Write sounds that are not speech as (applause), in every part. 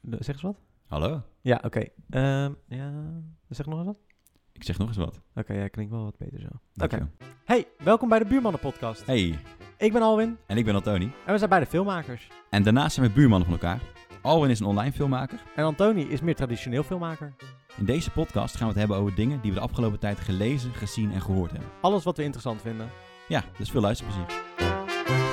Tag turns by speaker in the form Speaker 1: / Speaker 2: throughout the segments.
Speaker 1: zeg eens wat.
Speaker 2: Hallo,
Speaker 1: Ja, oké. Ehm, ja, zeg nog eens wat.
Speaker 2: ik zeg nog eens wat.
Speaker 1: Oké, ja, klinkt wel wat beter zo. Oké.
Speaker 2: Dankjewel.
Speaker 1: Hey, welkom bij de Buurmannen Podcast.
Speaker 2: Hey,
Speaker 1: Ik ben Alwin
Speaker 2: en ik ben Antoni.
Speaker 1: en we zijn beide filmmakers.
Speaker 2: En daarnaast zijn we buurmannen van elkaar. Alwin is een online filmmaker.
Speaker 1: En Antoni is meer traditioneel filmmaker.
Speaker 2: In deze podcast gaan we het hebben over dingen die we de afgelopen tijd gelezen, gezien en gehoord hebben.
Speaker 1: Alles wat we interessant vinden.
Speaker 2: Ja, dus veel luisterplezier.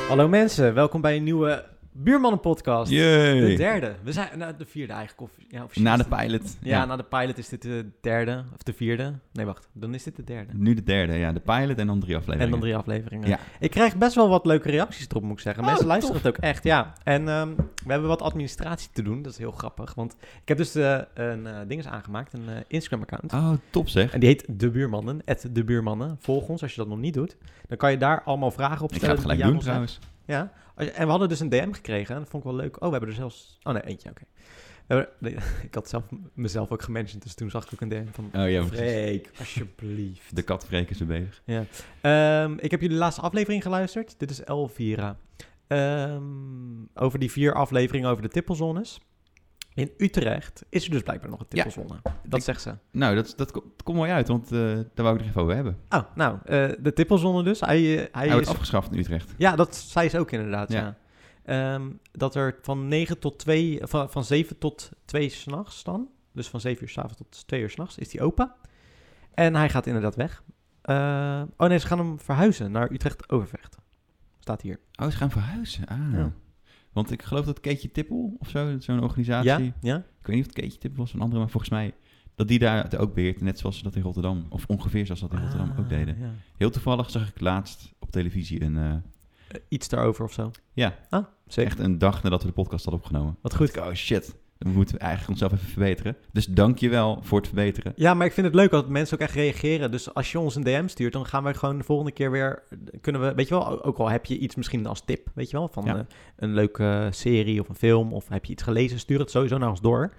Speaker 1: Hallo mensen, welkom bij een nieuwe Buurmannen Podcast. De
Speaker 2: Yay!
Speaker 1: derde. We zijn nou, de vierde eigenlijk. Of, ja, officieel
Speaker 2: Na
Speaker 1: is
Speaker 2: de
Speaker 1: het-
Speaker 2: pilot.
Speaker 1: Ja, na de pilot is dit de derde. Of de vierde. Nee, wacht. Dan is dit de derde.
Speaker 2: Nu de derde, ja. De pilot en dan drie afleveringen.
Speaker 1: En dan drie afleveringen.
Speaker 2: Ja.
Speaker 1: Ik krijg best wel wat leuke reacties erop, moet ik zeggen. Mensen
Speaker 2: Oh,
Speaker 1: luisteren
Speaker 2: tof.
Speaker 1: het ook echt, ja. En ehm, we hebben wat administratie te doen. Dat is heel grappig. Want ik heb dus eh, een eh ding is aangemaakt, een eh, Instagram-account.
Speaker 2: Oh, top zeg.
Speaker 1: En die heet De Buurmannen, at De Buurmannen. Volg ons als je dat nog niet doet. Dan kan je daar allemaal vragen op
Speaker 2: Ik ga
Speaker 1: stellen.
Speaker 2: het gelijk
Speaker 1: die aan
Speaker 2: doen
Speaker 1: ons zijn.
Speaker 2: trouwens.
Speaker 1: Ja. En we hadden dus een DM gekregen. En dat vond ik wel leuk. Oh, we hebben er zelfs... Oh nee, eentje, oké. We hebben- nee, (laughs) Ik had zelf, mezelf ook gemanaged, dus toen zag ik ook een DM van...
Speaker 2: Oh ja, precies.
Speaker 1: Freek, alsjeblieft.
Speaker 2: De kat Freek is er bezig.
Speaker 1: Ehm, ik heb jullie laatste aflevering geluisterd. Dit is Elvira. Ehm, over die vier afleveringen over de tippelzones. In Utrecht is er dus blijkbaar nog een
Speaker 2: Ja.
Speaker 1: tippelzone. Dat
Speaker 2: Ik-
Speaker 1: zegt ze.
Speaker 2: Nou, dat, dat, ko- dat komt mooi uit, want eh, daar wou ik het nog even over hebben.
Speaker 1: Oh, nou, eh, de tippelzone dus. Hij, eh, hij
Speaker 2: Hij wordt
Speaker 1: is...
Speaker 2: afgeschaft in Utrecht.
Speaker 1: Ja, dat zei ze ook inderdaad, ja.
Speaker 2: Ja.
Speaker 1: Ehm, dat er van 9 tot 2, van, van 7 tot 2 s'nachts dan, dus van 7 uur s'avonds tot 2 uur s'nachts, is die open. En hij gaat inderdaad weg. Eh, oh nee, ze gaan hem verhuizen naar Utrecht-Overvecht. Staat hier.
Speaker 2: Oh, ze gaan verhuizen. Ah.
Speaker 1: Ja.
Speaker 2: Want ik geloof dat Keetje Tippel of zo, zo'n organisatie.
Speaker 1: Ja? Ja?
Speaker 2: Ik weet niet of het Keetje Tippel was of een andere, maar volgens mij dat die daar het ook beheert. Net zoals ze dat in Rotterdam, of ongeveer zoals ze dat in Rotterdam ook deden.
Speaker 1: Ah, ja.
Speaker 2: Heel toevallig zag ik laatst op televisie een, eh,
Speaker 1: Eh, Iets daarover of zo.
Speaker 2: ja,
Speaker 1: Ah, zeker.
Speaker 2: echt een dag nadat we de podcast hadden opgenomen.
Speaker 1: Wat goed.
Speaker 2: Oh shit, we moeten eigenlijk onszelf even verbeteren. Dus dankjewel voor het verbeteren.
Speaker 1: Ja, maar ik vind het leuk dat mensen ook echt reageren. Dus als je ons een DM stuurt, dan gaan wij gewoon de volgende keer weer. Kunnen we, weet je wel, ook al heb je iets misschien als tip, weet je wel, van
Speaker 2: Ja.
Speaker 1: eh, een leuke serie of een film of heb je iets gelezen, stuur het sowieso naar ons door.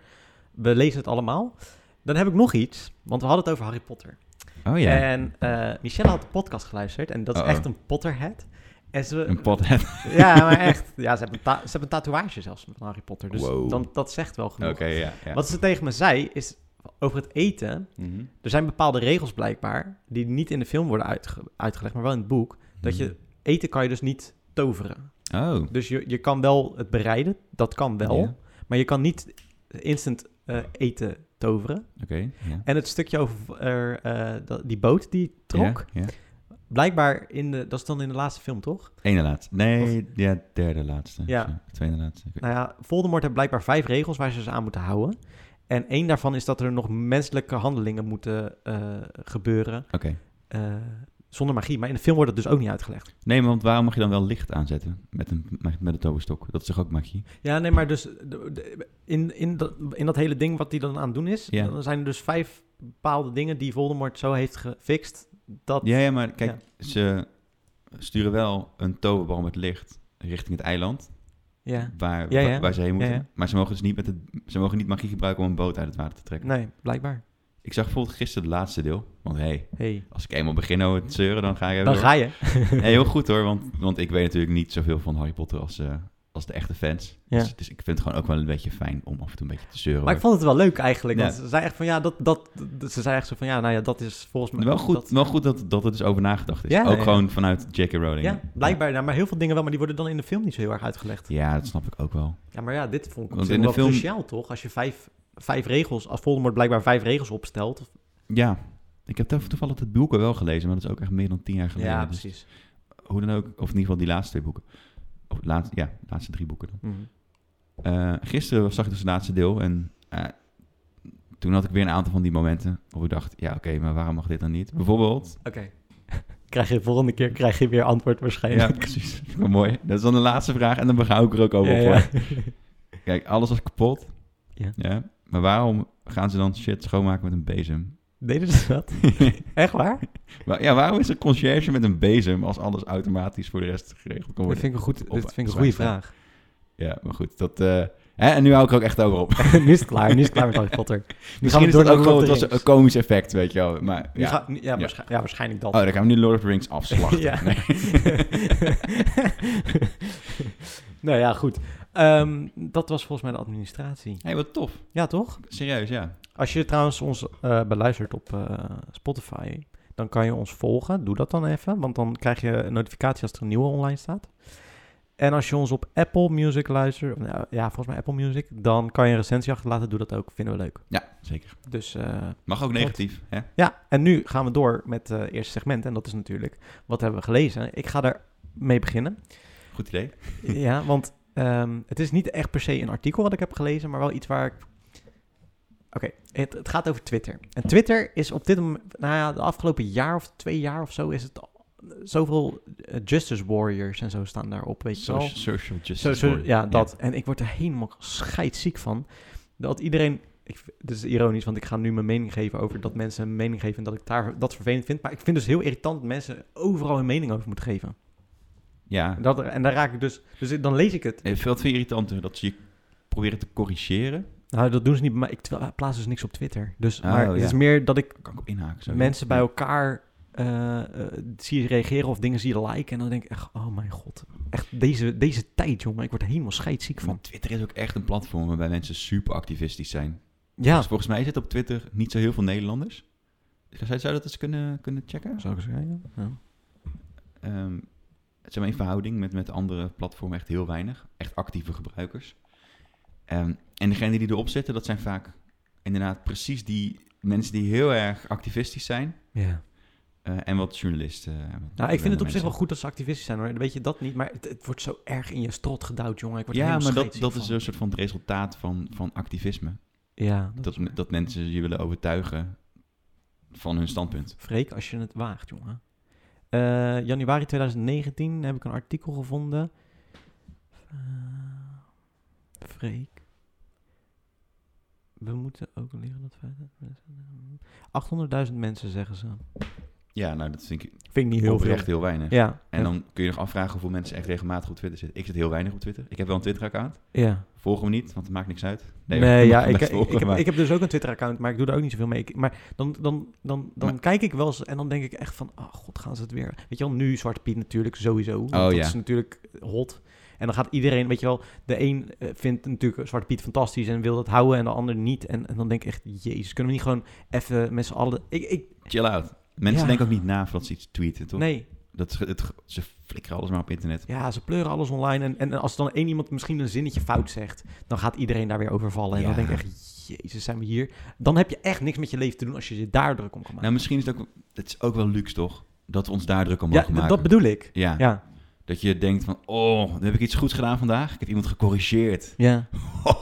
Speaker 1: We lezen het allemaal. Dan heb ik nog iets, want we hadden het over Harry Potter.
Speaker 2: Oh ja,
Speaker 1: En eh, Michelle had de podcast geluisterd en dat is
Speaker 2: Oh, oh.
Speaker 1: echt een Potterhead. En ze,
Speaker 2: een pothead.
Speaker 1: (laughs) Ja, maar echt. Ja, ze hebben een, ta- ze hebben een tatoeage zelfs van Harry Potter. Dus
Speaker 2: Wow.
Speaker 1: dan, dat zegt wel
Speaker 2: Oké,
Speaker 1: genoeg.
Speaker 2: ja. ja.
Speaker 1: Wat ze tegen me zei is over het eten.
Speaker 2: Mhm.
Speaker 1: Er zijn bepaalde regels blijkbaar die niet in de film worden uitge- uitgelegd, maar wel in het boek. Dat je eten kan je dus niet toveren.
Speaker 2: Oh,
Speaker 1: Dus je, je kan wel het bereiden, dat kan wel.
Speaker 2: Ja.
Speaker 1: Maar je kan niet instant eh, eten toveren.
Speaker 2: oké. ja.
Speaker 1: En het stukje over eh, eh, dat- die boot die trok,
Speaker 2: Ja, ja.
Speaker 1: blijkbaar in de, dat is dan in de laatste film toch?
Speaker 2: Ene laatste. Nee, ja, derde laatste.
Speaker 1: Ja.
Speaker 2: Zo, Tweede laatste. Ik weet-
Speaker 1: Nou ja, Voldemort heeft blijkbaar vijf regels waar ze ze aan moeten houden. En één daarvan is dat er nog menselijke handelingen moeten eh, gebeuren
Speaker 2: Oké.
Speaker 1: eh, zonder magie. Maar in de film wordt dat dus ook niet uitgelegd.
Speaker 2: Nee, maar want waarom mag je dan wel licht aanzetten met een, met met een toverstok? Dat is toch ook magie?
Speaker 1: Ja, nee, maar dus de- de- in, in, dat, in dat hele ding wat hij dan aan het doen is,
Speaker 2: Ja.
Speaker 1: dan zijn er dus vijf bepaalde dingen die Voldemort zo heeft gefixt. Dat,
Speaker 2: Ja, ja, maar kijk, ze sturen wel een toverbal met licht richting het eiland
Speaker 1: ja.
Speaker 2: waar,
Speaker 1: Ja, ja.
Speaker 2: waar, waar ze heen moeten.
Speaker 1: Ja, ja.
Speaker 2: Maar ze mogen dus niet, met het, ze mogen niet magie gebruiken om een boot uit het water te trekken.
Speaker 1: Nee, blijkbaar.
Speaker 2: Ik zag bijvoorbeeld gisteren het laatste deel. Want hé, hey,
Speaker 1: Hey.
Speaker 2: als ik eenmaal begin over het zeuren, dan ga ik even
Speaker 1: Dan
Speaker 2: door.
Speaker 1: ga je.
Speaker 2: Nee, heel goed hoor, want, want ik weet natuurlijk niet zoveel van Harry Potter als, eh, als de echte fans.
Speaker 1: Ja.
Speaker 2: Dus, dus ik vind het gewoon ook wel een beetje fijn om af en toe een beetje te zeuren.
Speaker 1: Maar ik vond het wel leuk eigenlijk.
Speaker 2: Ja.
Speaker 1: Want ze zei echt van ja, dat, dat, dat- ze zei echt zo van ja, nou ja, dat is volgens mij.
Speaker 2: wel goed,
Speaker 1: dat-
Speaker 2: wel goed dat, dat er dus over nagedacht is.
Speaker 1: Ja,
Speaker 2: ook
Speaker 1: ja.
Speaker 2: gewoon vanuit J.K. Rowling.
Speaker 1: ja, blijkbaar. Nou, maar heel veel dingen wel, maar die worden dan in de film niet zo heel erg uitgelegd.
Speaker 2: Ja, dat snap ik ook wel.
Speaker 1: Ja, maar ja, dit vond ik
Speaker 2: Want
Speaker 1: misschien
Speaker 2: in de
Speaker 1: wel
Speaker 2: film-
Speaker 1: cruciaal toch? Als je vijf, vijf regels, als Voldemort blijkbaar vijf regels opstelt.
Speaker 2: Ja, ik heb toev- toevallig het boek wel gelezen, maar dat is ook echt meer dan tien jaar geleden.
Speaker 1: ja,
Speaker 2: Dus
Speaker 1: precies.
Speaker 2: hoe dan ook, of in ieder geval die laatste twee boeken. Of laatste, ja, de laatste drie boeken dan.
Speaker 1: Mhm.
Speaker 2: Eh, gisteren zag ik dus het laatste deel en eh, toen had ik weer een aantal van die momenten waarop ik dacht, ja oké, maar waarom mag dit dan niet? Bijvoorbeeld,
Speaker 1: Oké. (laughs) Krijg je de volgende keer krijg je weer antwoord
Speaker 2: (laughs) ja
Speaker 1: waarschijnlijk.
Speaker 2: precies, Wel mooi. Dat is dan de laatste vraag en dan ga ik er ook over op. hoor. Kijk, alles was kapot.
Speaker 1: Ja.
Speaker 2: Maar waarom gaan ze dan shit schoonmaken met een bezem?
Speaker 1: (laughs) Deden ze
Speaker 2: (laughs)
Speaker 1: dat? Echt waar?
Speaker 2: Wa- Ja, waarom is er conciërge met een bezem als alles automatisch voor de rest geregeld kan
Speaker 1: Dat
Speaker 2: worden?
Speaker 1: vind ik een, goed,
Speaker 2: Op-
Speaker 1: dit vind ik een
Speaker 2: zwaar
Speaker 1: goede
Speaker 2: staan.
Speaker 1: vraag. (laughs)
Speaker 2: Ja, maar goed, dat... eh, hè, en nu hou ik er ook echt over op.
Speaker 1: nu is het klaar, nu is het klaar met
Speaker 2: (laughs)
Speaker 1: Harry Potter. Nu gaan
Speaker 2: Misschien
Speaker 1: we
Speaker 2: is
Speaker 1: door
Speaker 2: dat
Speaker 1: naar
Speaker 2: ook
Speaker 1: Lord
Speaker 2: gewoon
Speaker 1: of the
Speaker 2: het was
Speaker 1: Rings.
Speaker 2: een komisch effect, weet je wel. Maar
Speaker 1: Nu
Speaker 2: ja.
Speaker 1: ga- nu- ja, waarschijn- ja, waarschijnlijk dat.
Speaker 2: Oh, dan gaan we nu Lord of the Rings
Speaker 1: (laughs)
Speaker 2: afslachten.
Speaker 1: Ja.
Speaker 2: Nee.
Speaker 1: nou ja, goed. Ehm, dat was volgens mij de administratie.
Speaker 2: hey, wat tof.
Speaker 1: Ja, toch?
Speaker 2: Serieus, ja.
Speaker 1: Als je trouwens ons eh, beluistert op eh, Spotify, dan kan je ons volgen. Doe dat dan even, want dan krijg je een notificatie als er een nieuwe online staat. En als je ons op Apple Music luistert, of nou, ja, volgens mij Apple Music, dan kan je een recensie achterlaten. Doe dat ook, vinden we leuk.
Speaker 2: Ja, zeker.
Speaker 1: Dus eh,
Speaker 2: Mag ook negatief, hè?
Speaker 1: ja, en nu gaan we door met eh, het eerste segment. En dat is natuurlijk, wat hebben we gelezen? Ik ga daar mee beginnen.
Speaker 2: Goed idee.
Speaker 1: Ja, want ehm, het is niet echt per se een artikel wat ik heb gelezen, maar wel iets waar ik. Oké, het, het gaat over Twitter. En Twitter is op dit moment, nou ja, de afgelopen jaar of twee jaar of zo is het al- zoveel eh, justice warriors en zo staan daarop, weet je wel.
Speaker 2: Social, social justice.
Speaker 1: Zo, zo,
Speaker 2: warrior.
Speaker 1: ja, dat. En ik word er helemaal scheidziek van. Dat iedereen... Ik, dit is ironisch, want ik ga nu mijn mening geven over dat mensen een mening geven... en dat ik daar, dat vervelend vind. Maar ik vind dus heel irritant dat mensen overal hun mening over moeten geven.
Speaker 2: Ja.
Speaker 1: Dat, en daar raak ik dus... Dus ik- dan lees ik het
Speaker 2: Eh, Veel te irritanter dat ze je proberen te corrigeren.
Speaker 1: Nou, dat doen ze niet bij mij. Ik twa- plaats dus niks op Twitter. Dus,
Speaker 2: Oh,
Speaker 1: maar het
Speaker 2: ja.
Speaker 1: is meer dat ik
Speaker 2: Daar kan ik op inhaken. Zo.
Speaker 1: mensen bij
Speaker 2: Ja.
Speaker 1: elkaar eh, eh, zie reageren of dingen zie liken. En dan denk ik echt, oh mijn god. Echt deze, deze tijd, jongen. Ik word er helemaal scheidziek van.
Speaker 2: Want Twitter is ook echt een platform waarbij mensen super activistisch zijn.
Speaker 1: Ja.
Speaker 2: Dus volgens mij zitten op Twitter niet zo heel veel Nederlanders. Zou zou je dat eens kunnen, kunnen checken?
Speaker 1: Zou ik zeggen, ja.
Speaker 2: Ehm, het zijn maar in verhouding met, met andere platformen echt heel weinig. Echt actieve gebruikers. Ehm, en degenen die erop zitten, dat zijn vaak inderdaad precies die mensen die heel erg activistisch zijn.
Speaker 1: Ja.
Speaker 2: eh, en wat journalisten. eh, wat
Speaker 1: Nou, ik vind het op zich
Speaker 2: mensen.
Speaker 1: wel goed dat ze activisten zijn, hoor. Weet je, dat niet. Maar het, het wordt zo erg in je strot gedouwd, jongen. Ik word er
Speaker 2: Ja,
Speaker 1: helemaal dus
Speaker 2: maar dat,
Speaker 1: scheidziek
Speaker 2: dat is dus- een soort van het resultaat van, van activisme.
Speaker 1: van. Ja, dat
Speaker 2: Dat, dat mensen je willen overtuigen van hun standpunt.
Speaker 1: Freek, als je het waagt, jongen. Eh, januari 2019 heb ik een artikel gevonden. Eh, Freek. We moeten ook leren dat feiten. 800.000 mensen zeggen ze.
Speaker 2: Ja, nou, dat vind ik
Speaker 1: Vind ik niet heel veel.
Speaker 2: oprecht heel weinig.
Speaker 1: Ja.
Speaker 2: En dan kun je nog afvragen hoeveel mensen echt regelmatig op Twitter zitten. Ik zit heel weinig op Twitter. Ik heb wel een Twitter-account.
Speaker 1: Ja.
Speaker 2: Volg me niet, want het maakt niks uit.
Speaker 1: Nee,
Speaker 2: hoor,
Speaker 1: ja,
Speaker 2: (laughs) mag
Speaker 1: ik,
Speaker 2: best
Speaker 1: ik,
Speaker 2: volgen,
Speaker 1: ik, heb,
Speaker 2: maar-
Speaker 1: ik heb dus ook een Twitter-account, maar ik doe daar ook niet zoveel mee. Ik- maar dan, dan, dan, dan
Speaker 2: Maar-
Speaker 1: kijk ik wel eens en dan denk ik echt van, oh god, gaan ze het weer. Weet je wel, nu Zwarte Piet natuurlijk sowieso. want
Speaker 2: Oh,
Speaker 1: dat
Speaker 2: ja.
Speaker 1: is natuurlijk hot. En dan gaat iedereen, weet je wel, de een eh, vindt natuurlijk Zwarte Piet fantastisch en wil dat houden en de ander niet. En, en dan denk ik echt, jezus, kunnen we niet gewoon even met z'n allen... Ik, ik,
Speaker 2: Chill out. Mensen
Speaker 1: Ja.
Speaker 2: denken ook niet na voordat ze iets tweeten, toch?
Speaker 1: nee,
Speaker 2: Dat, ze- het, ze flikkeren alles maar op internet.
Speaker 1: ja, ze pleuren alles online. En, en als dan één iemand misschien een zinnetje fout zegt, dan gaat iedereen daar weer over vallen. En dan
Speaker 2: Ja.
Speaker 1: denk ik echt, jezus, zijn we hier. Dan heb je echt niks met je leven te doen als je je daar druk om kan maken.
Speaker 2: Nou, misschien is het ook, het is ook wel luxe, toch? Dat we ons daar druk om
Speaker 1: Ja,
Speaker 2: mogen
Speaker 1: d-
Speaker 2: maken.
Speaker 1: dat bedoel ik.
Speaker 2: ja.
Speaker 1: Ja.
Speaker 2: Dat je denkt van, oh, dan heb ik iets goeds gedaan vandaag. Ik heb iemand gecorrigeerd. (laughs) Oh.
Speaker 1: ja.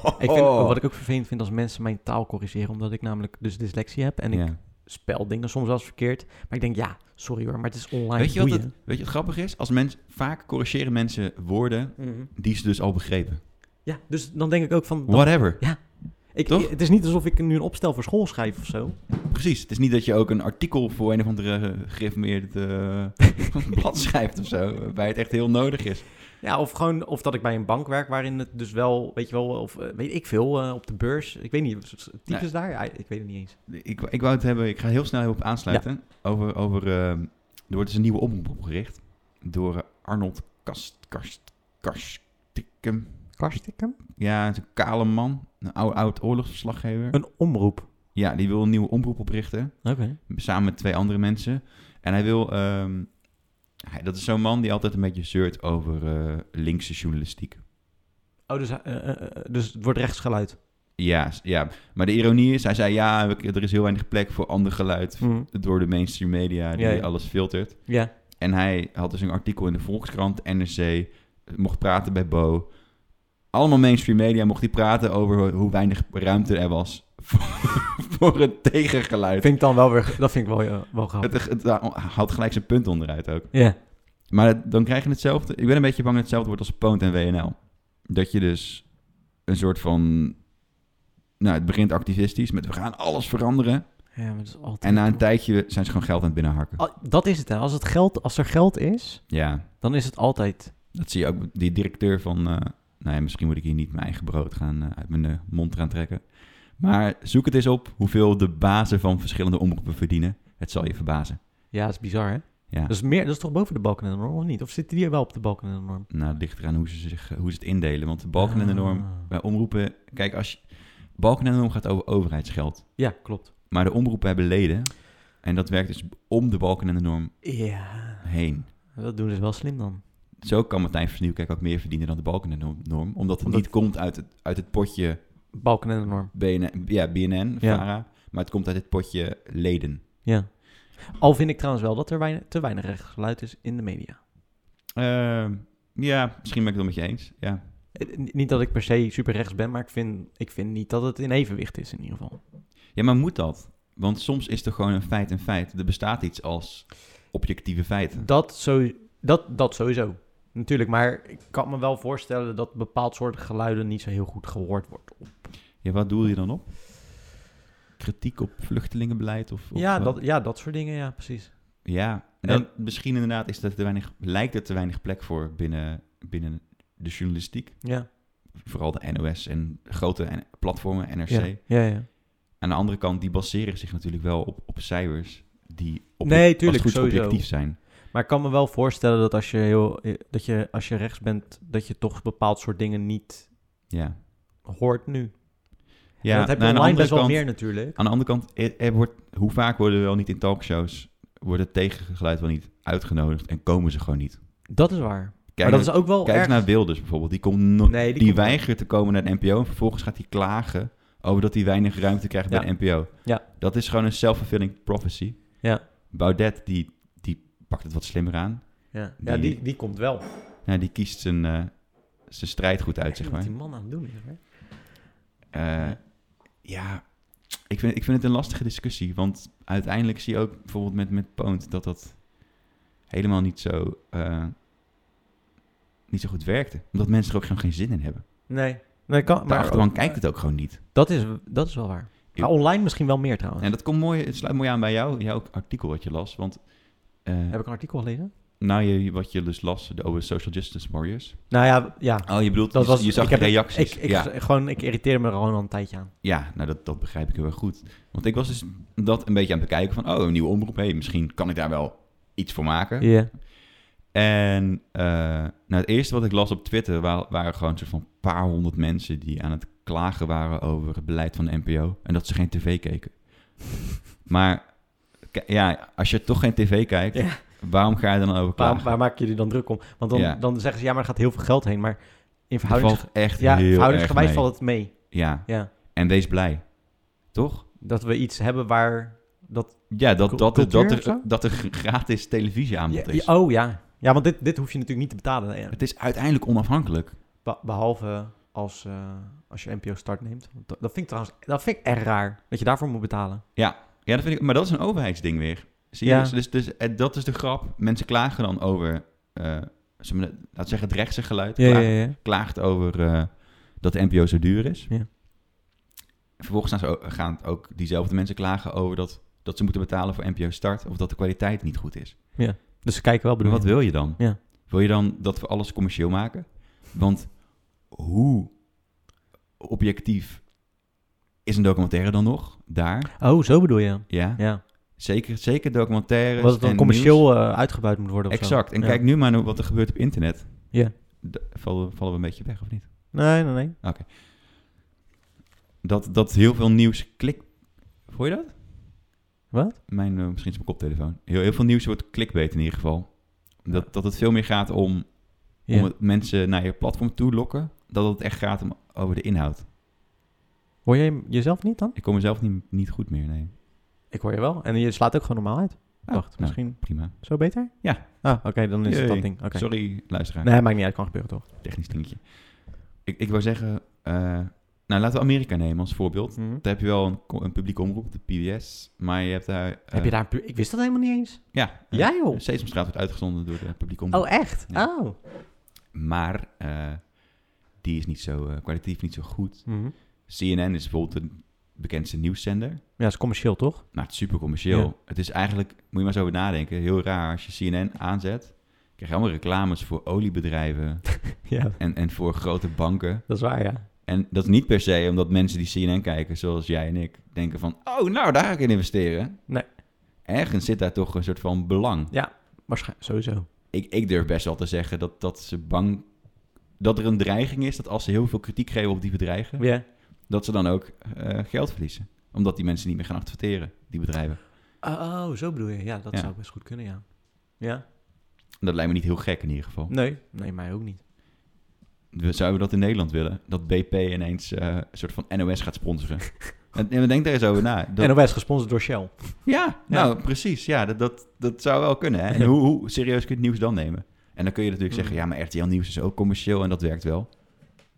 Speaker 1: Ik vind, Wat ik ook vervelend vind als mensen mijn taal corrigeren, omdat ik namelijk dus dyslexie heb en ik
Speaker 2: Ja.
Speaker 1: spel dingen soms wel eens verkeerd. Maar ik denk, ja, sorry hoor, maar het is online.
Speaker 2: Weet je, wat
Speaker 1: boeien.
Speaker 2: het, weet je wat grappig is? Als mensen vaak corrigeren mensen woorden die ze dus al begrepen.
Speaker 1: Ja, dus dan denk ik ook van... dan-
Speaker 2: Whatever.
Speaker 1: ik,
Speaker 2: toch?
Speaker 1: Het is niet alsof ik nu een opstel voor school schrijf of zo.
Speaker 2: Precies. Het is niet dat je ook een artikel voor een of andere eh, gereformeerd eh, (laughs) blad schrijft of zo. Waarbij het echt heel nodig is.
Speaker 1: Ja, of gewoon of dat ik bij een bank werk waarin het dus wel, weet je wel, of eh, weet ik veel, eh, op de beurs. Ik weet niet, s- s- types daar? Ja, ik weet het niet eens.
Speaker 2: Ik, ik wou het hebben, ik ga heel snel op aansluiten. Over, over, eh, er wordt dus een nieuwe omroep opgericht. Door eh, Arnold Kast, Kast, Kastikum.
Speaker 1: Karstikum?
Speaker 2: Ja, het is een kale man. Een oud, oud oorlogsverslaggever.
Speaker 1: Een omroep.
Speaker 2: Ja, die wil een nieuwe omroep oprichten.
Speaker 1: Oké.
Speaker 2: Samen met twee andere mensen. En hij wil... ehm, hij, dat is zo'n man die altijd een beetje zeurt over eh, linkse journalistiek.
Speaker 1: Oh, dus, hij- eh, eh, eh, dus het wordt rechtsgeluid.
Speaker 2: Ja, s- ja, maar de ironie is, hij zei ja, we- er is heel weinig plek voor ander geluid door de mainstream media die
Speaker 1: Ja, ja.
Speaker 2: alles filtert.
Speaker 1: Mhm. Ja.
Speaker 2: En hij had dus een artikel in de Volkskrant, NRC, mocht praten bij Bo. Allemaal mainstream media mocht hij praten over hoe weinig ruimte er was (laughs) voor, voor het tegengeluid.
Speaker 1: Vind ik dan wel weer, dat vind ik wel, eh, wel grappig.
Speaker 2: Het, het houdt gelijk zijn punt onderuit ook.
Speaker 1: Ja.
Speaker 2: Maar het- dan krijg je hetzelfde. Ik ben een beetje bang dat hetzelfde wordt als Poont en WNL. Dat je dus een soort van. Nou, het begint activistisch met we gaan alles veranderen.
Speaker 1: Ja, maar dat is altijd.
Speaker 2: En na een tijdje zijn ze gewoon geld aan het binnenharken.
Speaker 1: Al- Ah, dat is het, hè. Als, het geld, als er geld is,
Speaker 2: Ja,
Speaker 1: dan is het altijd.
Speaker 2: dat zie je ook. Die directeur van. eh nou ja, misschien moet ik hier niet mijn eigen brood gaan eh, uit mijn eh, mond gaan trekken. Maar zoek het eens op hoeveel de bazen van verschillende omroepen verdienen. Het zal je verbazen.
Speaker 1: Ja, dat is bizar, hè?
Speaker 2: Ja.
Speaker 1: Dat, is meer, dat is toch boven de balken en de norm, of niet? Of zitten die wel op de balken en de norm?
Speaker 2: Nou, het ligt eraan hoe ze, zich, hoe ze het indelen. Want de balken en de norm
Speaker 1: Ah.
Speaker 2: bij omroepen... Kijk, als je, balken en de norm gaat over overheidsgeld.
Speaker 1: Ja, klopt.
Speaker 2: Maar de omroepen hebben leden. En dat werkt dus om de balken en de norm
Speaker 1: Ja,
Speaker 2: heen.
Speaker 1: dat doen ze wel slim dan.
Speaker 2: Zo kan Martijn van Nieuwkerk ook meer verdienen dan de balken en de norm. Omdat het
Speaker 1: Omdat-
Speaker 2: niet komt uit het, uit het potje
Speaker 1: Balken en de norm.
Speaker 2: BNN, ja, BNN
Speaker 1: Ja.
Speaker 2: VARA. Maar het komt uit het potje leden.
Speaker 1: Ja. Al vind ik trouwens wel dat er weinig, te weinig rechtsgeluid is in de media.
Speaker 2: Ehm, ja, misschien ben ik het wel met je eens. Ja.
Speaker 1: Eh, n- Niet dat ik per se super rechts ben, maar ik vind, ik vind niet dat het in evenwicht is in ieder geval.
Speaker 2: ja, maar moet dat? Want soms is er gewoon een feit een feit. Er bestaat iets als objectieve feiten.
Speaker 1: Dat, zo, dat, dat sowieso. Natuurlijk, maar ik kan me wel voorstellen dat bepaald soort geluiden niet zo heel goed gehoord wordt.
Speaker 2: Ja, wat doel je dan op? Kritiek op vluchtelingenbeleid? Of, of
Speaker 1: Ja
Speaker 2: wat?
Speaker 1: dat, ja, dat soort dingen, ja, precies.
Speaker 2: Ja, en
Speaker 1: En-
Speaker 2: misschien inderdaad is dat te weinig, lijkt er te weinig plek voor binnen, binnen de journalistiek.
Speaker 1: Ja,
Speaker 2: Vooral de NOS en grote en- platformen, NRC.
Speaker 1: ja, ja. ja.
Speaker 2: Aan de andere kant, die baseren zich natuurlijk wel op, op cijfers die op
Speaker 1: Nee,
Speaker 2: als het
Speaker 1: tuurlijk,
Speaker 2: goed is
Speaker 1: sowieso.
Speaker 2: objectief zijn.
Speaker 1: Maar ik kan me wel voorstellen dat als je, heel, eh, dat je, als je rechts bent, dat je toch bepaald soort dingen niet
Speaker 2: Ja,
Speaker 1: hoort nu.
Speaker 2: ja
Speaker 1: En dat heb je
Speaker 2: nou, aan de
Speaker 1: online
Speaker 2: andere
Speaker 1: best wel
Speaker 2: kant-
Speaker 1: meer natuurlijk.
Speaker 2: Aan de andere kant, er, er wordt, hoe vaak worden we wel niet in talkshows, wordt het tegengeluid wel niet uitgenodigd en komen ze gewoon niet.
Speaker 1: Dat is waar.
Speaker 2: Kijk,
Speaker 1: maar
Speaker 2: naar-
Speaker 1: dat is ook wel
Speaker 2: kijk
Speaker 1: erg...
Speaker 2: eens naar Wilders bijvoorbeeld, die, komt no-
Speaker 1: Nee, die
Speaker 2: die,
Speaker 1: komt nooit.
Speaker 2: weigert te komen naar de NPO en vervolgens gaat hij klagen over dat hij weinig ruimte krijgt bij
Speaker 1: Ja.
Speaker 2: de NPO.
Speaker 1: Ja.
Speaker 2: Dat is gewoon een self-fulfilling prophecy.
Speaker 1: Ja.
Speaker 2: Baudet, die, die pakt het wat slimmer aan.
Speaker 1: Ja,
Speaker 2: Ja, die- die-
Speaker 1: die komt wel.
Speaker 2: Ja, die kiest zijn, eh, zijn strijd goed uit, zeg maar.
Speaker 1: Wat die man aan het doen is, hè?
Speaker 2: Eh, ja, ik vind, ik vind het een lastige discussie. Want uiteindelijk zie je ook bijvoorbeeld met, met Poont dat dat helemaal niet zo, eh, niet zo goed werkte. Omdat mensen er ook gewoon geen zin in hebben.
Speaker 1: Nee. nee kan,
Speaker 2: De
Speaker 1: maar
Speaker 2: achterban kijkt het ook gewoon niet.
Speaker 1: dat, is, dat is wel waar.
Speaker 2: Ik-
Speaker 1: Maar online misschien wel meer trouwens.
Speaker 2: En dat komt mooi, het sluit mooi aan bij jou, jouw artikel wat je las. Want eh
Speaker 1: Heb ik een artikel gelezen?
Speaker 2: nou, je, wat je dus las over Social Justice Warriors.
Speaker 1: Nou ja, ja.
Speaker 2: Oh, je bedoelt,
Speaker 1: Dat
Speaker 2: je,
Speaker 1: was-
Speaker 2: je zag
Speaker 1: ik
Speaker 2: de
Speaker 1: heb-
Speaker 2: reacties.
Speaker 1: Ik, ik,
Speaker 2: ja.
Speaker 1: gewoon, ik irriteer me er gewoon al een tijdje aan.
Speaker 2: Ja, nou dat, dat begrijp ik heel erg goed. Want ik was dus dat een beetje aan het bekijken van, oh, een nieuwe omroep, hey, misschien kan ik daar wel iets voor maken. En eh, nou, het eerste wat ik las op Twitter wa- waren gewoon een soort van paar honderd mensen die aan het klagen waren over het beleid van de NPO en dat ze geen tv
Speaker 1: (laughs)
Speaker 2: keken. maar k- ja, als je toch geen tv kijkt,
Speaker 1: Ja.
Speaker 2: waarom ga je dan over
Speaker 1: Waar,
Speaker 2: klagen?
Speaker 1: waar maak je jullie dan druk om? Want dan,
Speaker 2: Ja.
Speaker 1: dan zeggen ze, ja, maar er gaat heel veel geld heen. Maar in
Speaker 2: Het
Speaker 1: verhoudings...
Speaker 2: valt echt
Speaker 1: Ja,
Speaker 2: heel erg
Speaker 1: verhoudingsgewijs
Speaker 2: mee.
Speaker 1: valt het mee.
Speaker 2: Ja,
Speaker 1: Ja.
Speaker 2: en wees blij. Toch?
Speaker 1: Dat we iets hebben waar... Dat,
Speaker 2: Ja, dat, dat, dat,
Speaker 1: Cultuur of
Speaker 2: er,
Speaker 1: zo?
Speaker 2: dat er gratis televisie aanbod is.
Speaker 1: Ja, oh ja. Ja, want dit, dit hoef je natuurlijk niet te betalen. eh,
Speaker 2: Het is uiteindelijk onafhankelijk.
Speaker 1: be- behalve als, eh, als je NPO Start neemt. Want Dat dat vind ik trouwens dat vind ik echt raar. Dat je daarvoor moet betalen.
Speaker 2: Ja, dat vind ik, maar dat is een overheidsding weer. Zie je?
Speaker 1: Ja.
Speaker 2: Dus, dus, dus, eh, dat is de grap. Mensen klagen dan over, eh, ze- laat zeggen, het rechtse geluid. Klaag-
Speaker 1: ja.
Speaker 2: Klaagt over eh, dat de NPO zo duur is.
Speaker 1: Ja.
Speaker 2: Vervolgens gaan, ze ook, gaan ook diezelfde mensen klagen over dat, dat ze moeten betalen voor NPO Start. Of dat de kwaliteit niet goed is.
Speaker 1: Dus ze kijken wel,
Speaker 2: Maar
Speaker 1: bedoel je?
Speaker 2: wat wil je dan?
Speaker 1: Ja.
Speaker 2: Wil je dan dat we alles commercieel maken? Want hoe objectief is een documentaire dan nog? Daar,
Speaker 1: Oh, zo bedoel je.
Speaker 2: ja.
Speaker 1: Ja.
Speaker 2: Zeker, zeker documentaires.
Speaker 1: Wat het dan
Speaker 2: en
Speaker 1: commercieel eh, uitgebuit moet worden
Speaker 2: nieuws.
Speaker 1: of zo.
Speaker 2: Exact. En
Speaker 1: Ja.
Speaker 2: kijk nu maar naar wat er gebeurt op internet.
Speaker 1: Ja.
Speaker 2: D- vallen, vallen we een beetje weg, of niet?
Speaker 1: Nee, nee, nee.
Speaker 2: Dat, dat heel veel nieuws klik... Hoor je dat?
Speaker 1: Wat?
Speaker 2: Mijn, eh, misschien is het mijn koptelefoon. Heel, heel veel nieuws wordt clickbait in ieder geval. Dat, dat het veel meer gaat om,
Speaker 1: Ja.
Speaker 2: om het mensen naar je platform toe lokken. Dat het echt gaat om, over de inhoud.
Speaker 1: Hoor jij jezelf niet dan?
Speaker 2: Ik kom mezelf niet, niet goed meer, nee.
Speaker 1: Ik hoor je wel. En je slaat ook gewoon normaal uit.
Speaker 2: Ah,
Speaker 1: Wacht,
Speaker 2: nou,
Speaker 1: misschien
Speaker 2: prima.
Speaker 1: zo beter?
Speaker 2: Ja.
Speaker 1: Ah, oké, dan is het
Speaker 2: Jee.
Speaker 1: dat ding. Oké.
Speaker 2: Sorry, luisteraar.
Speaker 1: Nee, maakt niet uit. Kan gebeuren toch?
Speaker 2: Technisch dingetje. Ik, ik wou zeggen... eh, nou, laten we Amerika nemen als voorbeeld.
Speaker 1: Mhm.
Speaker 2: Daar heb je wel een, co- een publieke omroep, de PBS. Maar je hebt daar... eh,
Speaker 1: Heb je daar een pu- Ik wist dat helemaal niet eens.
Speaker 2: Ja. eh,
Speaker 1: Ja, joh.
Speaker 2: Sesamstraat wordt uitgezonden door de publieke omroep.
Speaker 1: Oh, echt?
Speaker 2: Ja.
Speaker 1: Oh.
Speaker 2: Maar eh, die is niet zo eh, kwalitatief niet zo goed.
Speaker 1: Mhm.
Speaker 2: CNN is bijvoorbeeld de bekendste nieuwszender.
Speaker 1: Ja, is commercieel toch?
Speaker 2: Maar het is super commercieel.
Speaker 1: Ja.
Speaker 2: Het is eigenlijk, moet je maar eens over nadenken, heel raar. Als je CNN aanzet, krijg je allemaal reclames voor
Speaker 1: (laughs)
Speaker 2: oliebedrijven
Speaker 1: Ja,
Speaker 2: en, en voor grote banken.
Speaker 1: dat is waar, ja.
Speaker 2: En dat is niet per se omdat mensen die CNN kijken, zoals jij en ik, denken van... Oh, nou, daar ga ik in investeren.
Speaker 1: Nee.
Speaker 2: Ergens zit daar toch een soort van belang.
Speaker 1: Ja, Waarschijnlijk, sowieso.
Speaker 2: ik, ik durf best wel te zeggen dat, dat ze bang... Dat er een dreiging is dat als ze heel veel kritiek geven op die bedreigen...
Speaker 1: Ja.
Speaker 2: dat ze dan ook eh, geld verliezen. Omdat die mensen niet meer gaan adverteren, die bedrijven.
Speaker 1: Oh, zo bedoel je. Ja, dat
Speaker 2: Ja.
Speaker 1: zou best goed kunnen, ja. Ja?
Speaker 2: Dat lijkt me niet heel gek in ieder geval.
Speaker 1: Nee. Nee, mij ook niet.
Speaker 2: We Zouden we dat in Nederland willen? Dat BP ineens eh, een soort van NOS gaat sponsoren. en, en denk daar eens over na. Dat-
Speaker 1: En NOS gesponsord door Shell.
Speaker 2: ja, nou precies. Ja, dat, dat, dat zou wel kunnen. Hè? En hoe, hoe serieus kun je het nieuws dan nemen? En dan kun je natuurlijk
Speaker 1: Mm.
Speaker 2: zeggen, ja, maar RTL Nieuws is ook commercieel en dat werkt wel.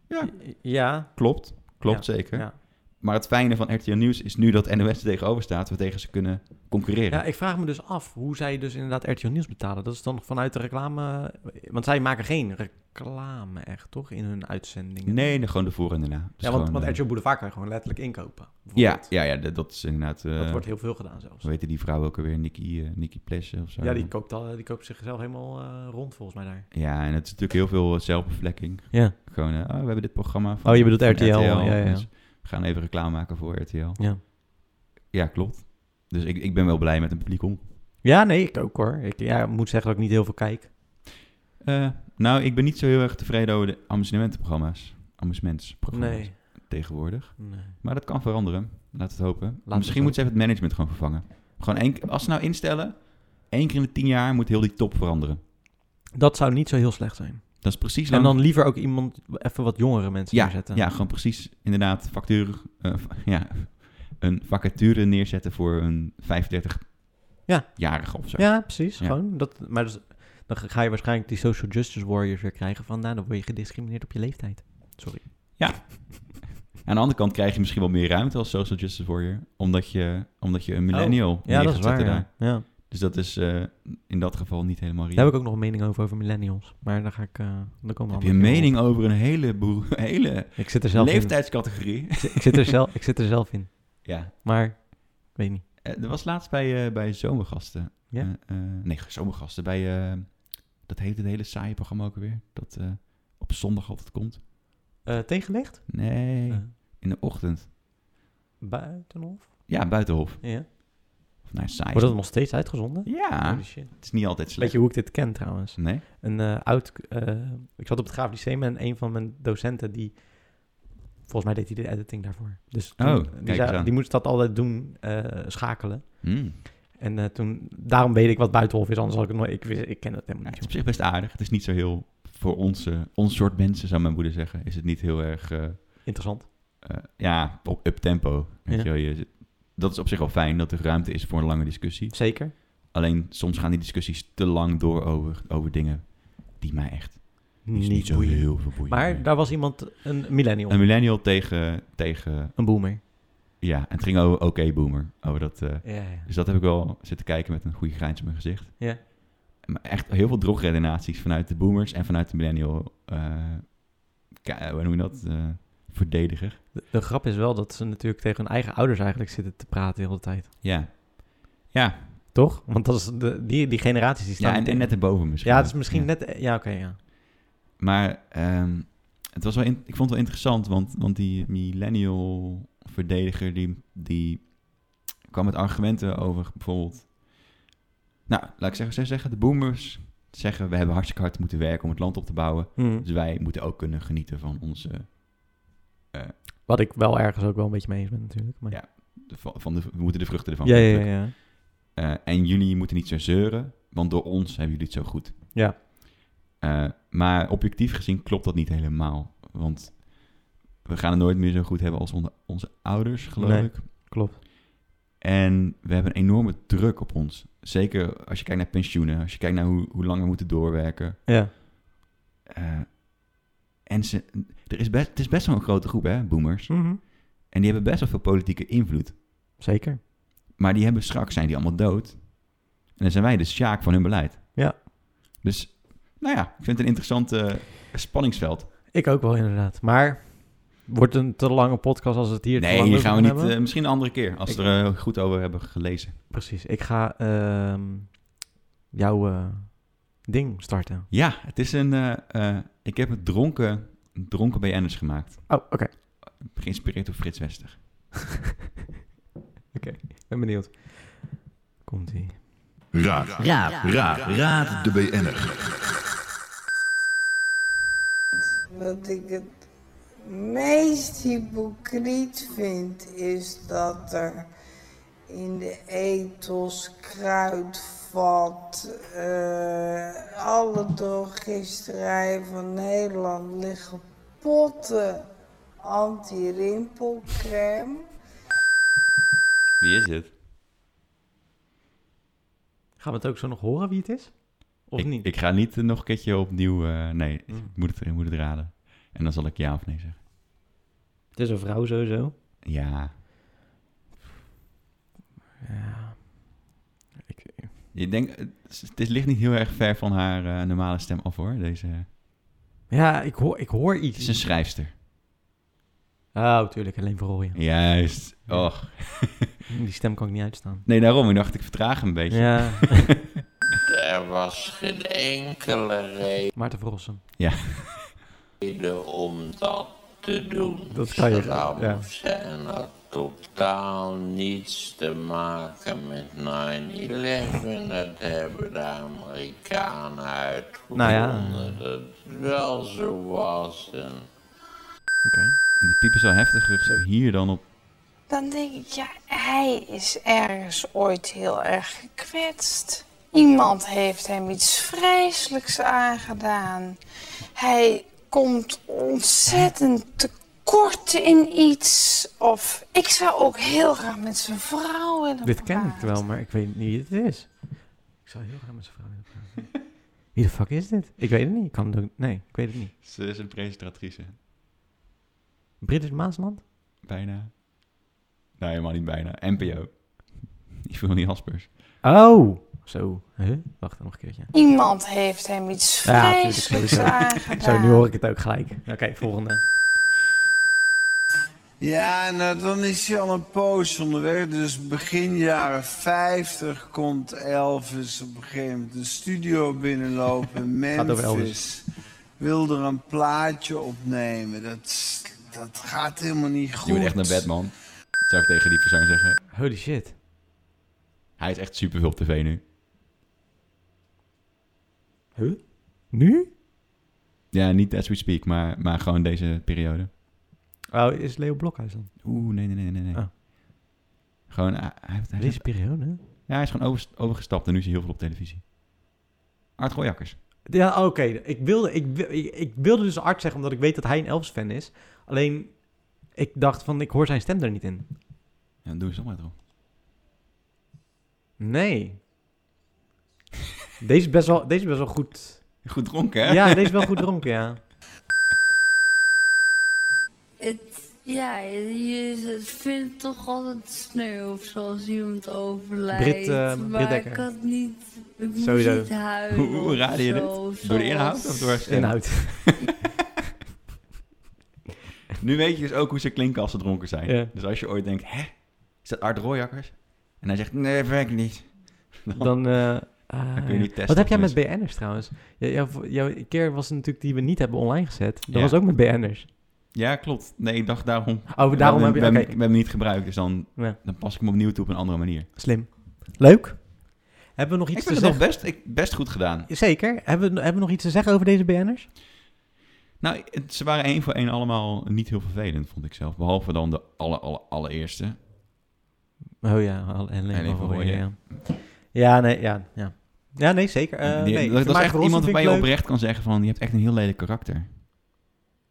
Speaker 2: Ja.
Speaker 1: Ja.
Speaker 2: Klopt, klopt zeker.
Speaker 1: ja.
Speaker 2: Maar het fijne van RTL Nieuws is nu dat NOS er tegenover staat, we tegen ze kunnen concurreren.
Speaker 1: Ja, ik vraag me dus af hoe zij dus inderdaad RTL Nieuws betalen. Dat is dan vanuit de reclame... Want zij maken geen reclame echt, toch? In hun uitzendingen.
Speaker 2: Nee, nee, gewoon de voor en de na. Dus
Speaker 1: ja, want,
Speaker 2: gewoon,
Speaker 1: want
Speaker 2: eh,
Speaker 1: RTL Boulevard kan je gewoon letterlijk inkopen.
Speaker 2: ja,
Speaker 1: bijvoorbeeld.
Speaker 2: ja, ja, dat dat is inderdaad... eh,
Speaker 1: Dat wordt heel veel gedaan zelfs.
Speaker 2: Hoe heette die vrouw ook alweer? Nikki, eh Nikki Plessen of zo?
Speaker 1: Ja, die koopt, al, die koopt zichzelf helemaal eh, rond volgens mij daar.
Speaker 2: Ja, en het is natuurlijk heel veel eh, zelfbevlekking.
Speaker 1: Ja.
Speaker 2: Gewoon, eh, oh, we hebben dit programma van
Speaker 1: Oh, je bedoelt RTL. Ja, ja,
Speaker 2: dus we gaan even reclame maken voor RTL.
Speaker 1: Ja.
Speaker 2: Ja, klopt. Dus ik, ik ben wel blij met een publiek om.
Speaker 1: Ja, nee, ik ook hoor. Ik ja, ik moet zeggen dat ik niet heel veel kijk.
Speaker 2: Eh, nou, ik ben niet zo heel erg tevreden over de amusementenprogramma's. Amusementsprogramma's
Speaker 1: Nee.
Speaker 2: tegenwoordig.
Speaker 1: nee.
Speaker 2: Maar dat kan veranderen. Laten we het hopen.
Speaker 1: het
Speaker 2: Misschien moeten ze even het management gewoon vervangen. Gewoon één, als ze nou instellen, één keer in de tien jaar moet heel die top veranderen.
Speaker 1: Dat zou niet zo heel slecht zijn.
Speaker 2: Dat is precies
Speaker 1: En
Speaker 2: lang
Speaker 1: dan liever ook iemand, even wat jongere mensen neerzetten.
Speaker 2: Ja, gewoon precies inderdaad factuur, eh, va- (laughs) ja, een vacature neerzetten voor een 35-jarige
Speaker 1: Ja.
Speaker 2: of zo.
Speaker 1: Ja, precies.
Speaker 2: Ja.
Speaker 1: Gewoon. Dat, maar dat is- dan ga je waarschijnlijk die social justice warriors weer krijgen van, nou, dan word je gediscrimineerd op je leeftijd. Sorry.
Speaker 2: Aan de andere kant krijg je misschien wel meer ruimte als social justice warrior, omdat je, omdat
Speaker 1: Oh,
Speaker 2: je een millennial neer gaat zetten daar.
Speaker 1: Ja. Ja.
Speaker 2: Dus dat is eh, in dat geval niet helemaal reëel.
Speaker 1: Daar heb ik ook nog een mening over, over millennials. Maar daar ga ik, eh dan komen we
Speaker 2: Heb
Speaker 1: andere
Speaker 2: je een
Speaker 1: keer
Speaker 2: mening over een hele, boel- (laughs) hele
Speaker 1: op. Ik zit er zelf in.
Speaker 2: leeftijdscategorie? (laughs)
Speaker 1: Ik zit- Ik zit, er zelf, ik zit er zelf in.
Speaker 2: ja,
Speaker 1: Maar, ik weet niet.
Speaker 2: Eh, er was laatst bij, eh, bij Zomergasten.
Speaker 1: Ja?
Speaker 2: Eh, eh, nee, Zomergasten. Bij, eh, dat heet het hele saaie programma ook weer. Dat eh, op zondag altijd komt.
Speaker 1: Eh tegenlicht?
Speaker 2: Nee.
Speaker 1: Eh,
Speaker 2: In de ochtend.
Speaker 1: buitenhof?
Speaker 2: Ja, buitenhof.
Speaker 1: Ja.
Speaker 2: Of naar saai.
Speaker 1: Wordt dat nog steeds uitgezonden?
Speaker 2: Ja,
Speaker 1: Holy shit.
Speaker 2: het is niet altijd
Speaker 1: Weet
Speaker 2: slecht.
Speaker 1: je hoe ik dit ken trouwens?
Speaker 2: Nee?
Speaker 1: Een eh, oud... eh, ik zat op het Graaf Lyceum en een van mijn docenten die... Volgens mij deed hij de editing daarvoor. Dus toen-
Speaker 2: Oh,
Speaker 1: die,
Speaker 2: kijk eens aan.
Speaker 1: die moest dat altijd doen, eh, schakelen.
Speaker 2: Hmm.
Speaker 1: En eh, toen, daarom weet ik wat Buitenhof is, anders had ik het nooit... Ik, wist, ik ken dat
Speaker 2: Ja,
Speaker 1: helemaal
Speaker 2: het
Speaker 1: niet.
Speaker 2: is op zich best aardig. Het is niet zo heel... Voor ons, eh, ons soort mensen, zou mijn moeder zeggen, is het niet heel erg... eh,
Speaker 1: joh. Interessant.
Speaker 2: eh, ja, op up-tempo. Weet
Speaker 1: Ja.
Speaker 2: je wel, je zit- dat is op zich wel fijn, dat er ruimte is voor een lange discussie.
Speaker 1: Zeker.
Speaker 2: Alleen soms gaan die discussies te lang door over, over dingen die mij echt niet, zo
Speaker 1: boeiend.
Speaker 2: heel veel boeien.
Speaker 1: Maar daar was iemand, een millennial,
Speaker 2: Een
Speaker 1: een,
Speaker 2: millennial tegen, tegen...
Speaker 1: boomer.
Speaker 2: Ja, en het ging over oké boomer. Over dat... eh,
Speaker 1: Ja, ja.
Speaker 2: Dus dat heb ik wel zitten kijken met een goede grijns op mijn gezicht.
Speaker 1: Ja.
Speaker 2: Maar echt heel veel drogredenaties vanuit de boomers en vanuit de millennial. eh, ka- hoe noem je dat? eh, verdediger.
Speaker 1: De, de grap is wel dat ze natuurlijk tegen hun eigen ouders eigenlijk zitten te praten de hele tijd.
Speaker 2: Ja. Ja,
Speaker 1: Toch? Want dat is de, die, die generaties die staan...
Speaker 2: ja en, en net erboven misschien.
Speaker 1: ja, het
Speaker 2: ook.
Speaker 1: is misschien
Speaker 2: Ja.
Speaker 1: net... Ja, oké, ja.
Speaker 2: Maar ehm, het was wel in- ik vond het wel interessant, want, want die millennial verdediger die, die kwam met argumenten over bijvoorbeeld... Nou, laat ik zeggen, zij zeggen, de boomers zeggen we hebben hartstikke hard moeten werken om het land op te bouwen.
Speaker 1: Hm.
Speaker 2: Dus wij moeten ook kunnen genieten van onze.
Speaker 1: Wat ik wel ergens ook wel een beetje mee eens ben natuurlijk. Maar...
Speaker 2: Ja, Van van de, we moeten de vruchten ervan
Speaker 1: ja, ja, ja,
Speaker 2: plukken.
Speaker 1: ja.
Speaker 2: Eh, en jullie moeten niet zo zeuren, want door ons hebben jullie het zo goed.
Speaker 1: Ja.
Speaker 2: Eh, maar objectief gezien klopt dat niet helemaal. Want we gaan het nooit meer zo goed hebben als onder- onze ouders, geloof
Speaker 1: Nee.
Speaker 2: ik.
Speaker 1: Klopt.
Speaker 2: En we hebben een enorme druk op ons. Zeker als je kijkt naar pensioenen, als je kijkt naar hoe, hoe lang we moeten doorwerken.
Speaker 1: Ja.
Speaker 2: Eh, en ze, er is best, het is best wel een grote groep, hè, boomers.
Speaker 1: Hm. Mhm.
Speaker 2: En die hebben best wel veel politieke invloed.
Speaker 1: Zeker.
Speaker 2: Maar die hebben straks zijn die allemaal dood. En dan zijn wij de sjaak van hun beleid.
Speaker 1: Ja.
Speaker 2: Dus, nou ja, ik vind het een interessant eh, spanningsveld.
Speaker 1: Ik ook wel inderdaad. Maar wordt een te lange podcast als we het hier te
Speaker 2: nee,
Speaker 1: lang
Speaker 2: hier
Speaker 1: over
Speaker 2: gaan we niet.
Speaker 1: hebben?
Speaker 2: eh, misschien een andere keer, als
Speaker 1: Ik-
Speaker 2: we er eh, goed over hebben gelezen.
Speaker 1: Precies. Ik ga ehm, jouw eh, ding starten.
Speaker 2: Ja, het is een. eh, eh, ik heb het dronken, dronken BN'ers gemaakt.
Speaker 1: Oh, oké. (laughs)
Speaker 2: Geïnspireerd door Frits Wester.
Speaker 1: Ben benieuwd. Komt-ie.
Speaker 3: Raad,
Speaker 4: Raad,
Speaker 3: raad, raad de BN'er.
Speaker 5: Wat ik het meest hypocriet vind is dat er in de ethos kruidvat eh, alle drogisterijen van Nederland liggen potten anti-rimpelcrème.
Speaker 2: Wie is dit?
Speaker 1: Gaan we het ook zo nog horen wie het is? Of
Speaker 2: ik,
Speaker 1: niet?
Speaker 2: ik ga niet eh, nog een keertje opnieuw... eh, nee, ik
Speaker 1: Mm.
Speaker 2: moet het, ik moet het raden. En dan zal ik ja of nee zeggen.
Speaker 1: Het is een vrouw sowieso.
Speaker 2: Ja.
Speaker 1: Ja. Ik,
Speaker 2: Je denkt, het, is- het ligt niet heel erg ver van haar eh, normale stem af hoor. Deze, het
Speaker 1: ja, ik hoor, ik hoor iets.
Speaker 2: is een schrijfster.
Speaker 1: Oh, tuurlijk. Alleen voor
Speaker 2: (laughs)
Speaker 1: rooien.
Speaker 2: Juist. Och.
Speaker 1: Die stem kan ik niet uitstaan.
Speaker 2: Nee, daarom. Ik dacht, ik vertraag hem een beetje.
Speaker 1: Ja.
Speaker 6: Er was geen enkele
Speaker 1: Maarten Verrossen.
Speaker 6: reden om dat te doen.
Speaker 1: Dat kan je, Ah, ja.
Speaker 6: Slams en had totaal niets te maken met 9-11. Dat hebben de Amerikanen
Speaker 1: Nou ja.
Speaker 6: uitgevonden. Dat het wel zo was. En
Speaker 1: Oké.
Speaker 2: De piep is wel heftiger zo hier dan op...
Speaker 7: Dan denk ik, ja, hij is ergens ooit heel erg gekwetst. Iemand heeft hem iets vreselijks aangedaan. Hij komt ontzettend tekort in iets. Of ik zou ook heel graag met zijn vrouw willen
Speaker 1: Dit ken ik
Speaker 7: praten.
Speaker 1: wel, maar ik weet niet wie het is. Ik zou heel graag met zijn vrouw willen praten. (laughs) Wie de fuck is dit? Ik weet het niet. Ik kan het ook... Nee, ik weet het niet.
Speaker 2: Ze is een presentatrice.
Speaker 1: Bridget Maasland?
Speaker 2: Bijna. Nou, helemaal niet bijna. NPO. Ik wil niet Haspers.
Speaker 1: Oh! Zo. Huh? Wacht, nog een keertje.
Speaker 7: Iemand heeft hem iets
Speaker 1: Ja, tuurlijk,
Speaker 7: vreselijks
Speaker 1: sowieso.
Speaker 7: aangedaan.
Speaker 1: Zo, nu hoor ik het ook gelijk. Oké, volgende.
Speaker 8: Ja, nou dan is hij al een poos onderweg. Dus begin jaren 50 komt Elvis op een gegeven moment een studio
Speaker 2: (laughs)
Speaker 8: binnenlopen in
Speaker 1: Gaat over
Speaker 8: Memphis.
Speaker 1: Elvis.
Speaker 8: Wil er een plaatje opnemen. Dat, is- dat gaat helemaal niet goed.
Speaker 2: Je moet echt naar bed, man. Dat zou ik tegen die persoon zeggen.
Speaker 1: Holy shit.
Speaker 2: Hij is echt superveel op tv nu.
Speaker 1: Huh? Nu?
Speaker 2: Ja, niet as we speak, maar, maar gewoon deze periode.
Speaker 1: Oh, is Leo Blokhuis dan?
Speaker 2: Oeh, nee, nee, nee, nee. nee.
Speaker 1: Ah.
Speaker 2: Gewoon, hij, hij, heeft- hij,
Speaker 1: Deze
Speaker 2: is,
Speaker 1: periode?
Speaker 2: ja, hij is gewoon over- overgestapt en nu is hij heel veel op televisie. Art Gooijakkers.
Speaker 1: Ja, oké. Ik, wilde, ik, wi- ik, ik wilde dus Art zeggen, omdat ik weet dat hij een Elvis-fan is. Alleen, ik dacht van, ik hoor zijn stem er niet in.
Speaker 2: Ja, dan doen we ze maar erop.
Speaker 1: Nee. Deze is best wel, deze is best wel goed.
Speaker 2: Goed dronken, hè?
Speaker 1: Ja, deze is wel goed dronken,
Speaker 2: (laughs)
Speaker 1: ja.
Speaker 9: Het, ja, je je vindt toch altijd sneeuw of zoals iemand overlijdt.
Speaker 1: Brit, eh, Brit
Speaker 9: maar
Speaker 1: Dekker.
Speaker 9: ik had niet, ik moest
Speaker 1: Sowieso.
Speaker 9: niet huilen
Speaker 2: Hoe, hoe
Speaker 9: of
Speaker 2: raadde je
Speaker 9: zo,
Speaker 2: dit? Door de inhoud of door haar stem?
Speaker 1: Inhoud.
Speaker 2: Nu weet je dus ook hoe ze klinken als ze dronken zijn.
Speaker 1: Ja.
Speaker 2: Dus als je ooit denkt, hè? Is dat Art Rooijakkers? En hij zegt, nee, werkt niet.
Speaker 1: Dan, eh, ah,
Speaker 2: kun je niet
Speaker 1: ja.
Speaker 2: testen
Speaker 1: Wat heb
Speaker 2: of
Speaker 1: jij met BN'ers trouwens? J- Jouw, jouw keer was natuurlijk die we niet hebben online gezet. Dat
Speaker 2: Ja.
Speaker 1: was ook met BN'ers.
Speaker 2: Ja, klopt. Nee, ik dacht daarom.
Speaker 1: Oh, daarom heb je...
Speaker 2: We
Speaker 1: Oké,
Speaker 2: hebben we hebben hem niet gebruikt, dus dan,
Speaker 1: Ja.
Speaker 2: dan pas ik hem opnieuw toe op een andere manier.
Speaker 1: slim. Leuk. Hebben we nog
Speaker 2: ik
Speaker 1: iets te
Speaker 2: vind het nog
Speaker 1: zeggen?
Speaker 2: best, ik, best goed gedaan.
Speaker 1: Zeker. Hebben we, hebben we nog iets te zeggen over deze BN'ers?
Speaker 2: Nou, het- ze waren één voor één allemaal niet heel vervelend, vond ik zelf. Behalve dan de alle, alle, allereerste.
Speaker 1: Eh, Oh ja, al- en
Speaker 2: Helene
Speaker 1: Leen van
Speaker 2: van
Speaker 1: Rooyen,
Speaker 2: Rooyen.
Speaker 1: ja. Ja, nee, ja, ja. Ja, nee, zeker. Eh nee,
Speaker 2: Die- dat dat
Speaker 1: Maarten
Speaker 2: is echt
Speaker 1: Rossum
Speaker 2: iemand
Speaker 1: vind ik
Speaker 2: waarbij je
Speaker 1: leuk.
Speaker 2: oprecht kan zeggen van, je hebt echt een heel lelijk karakter.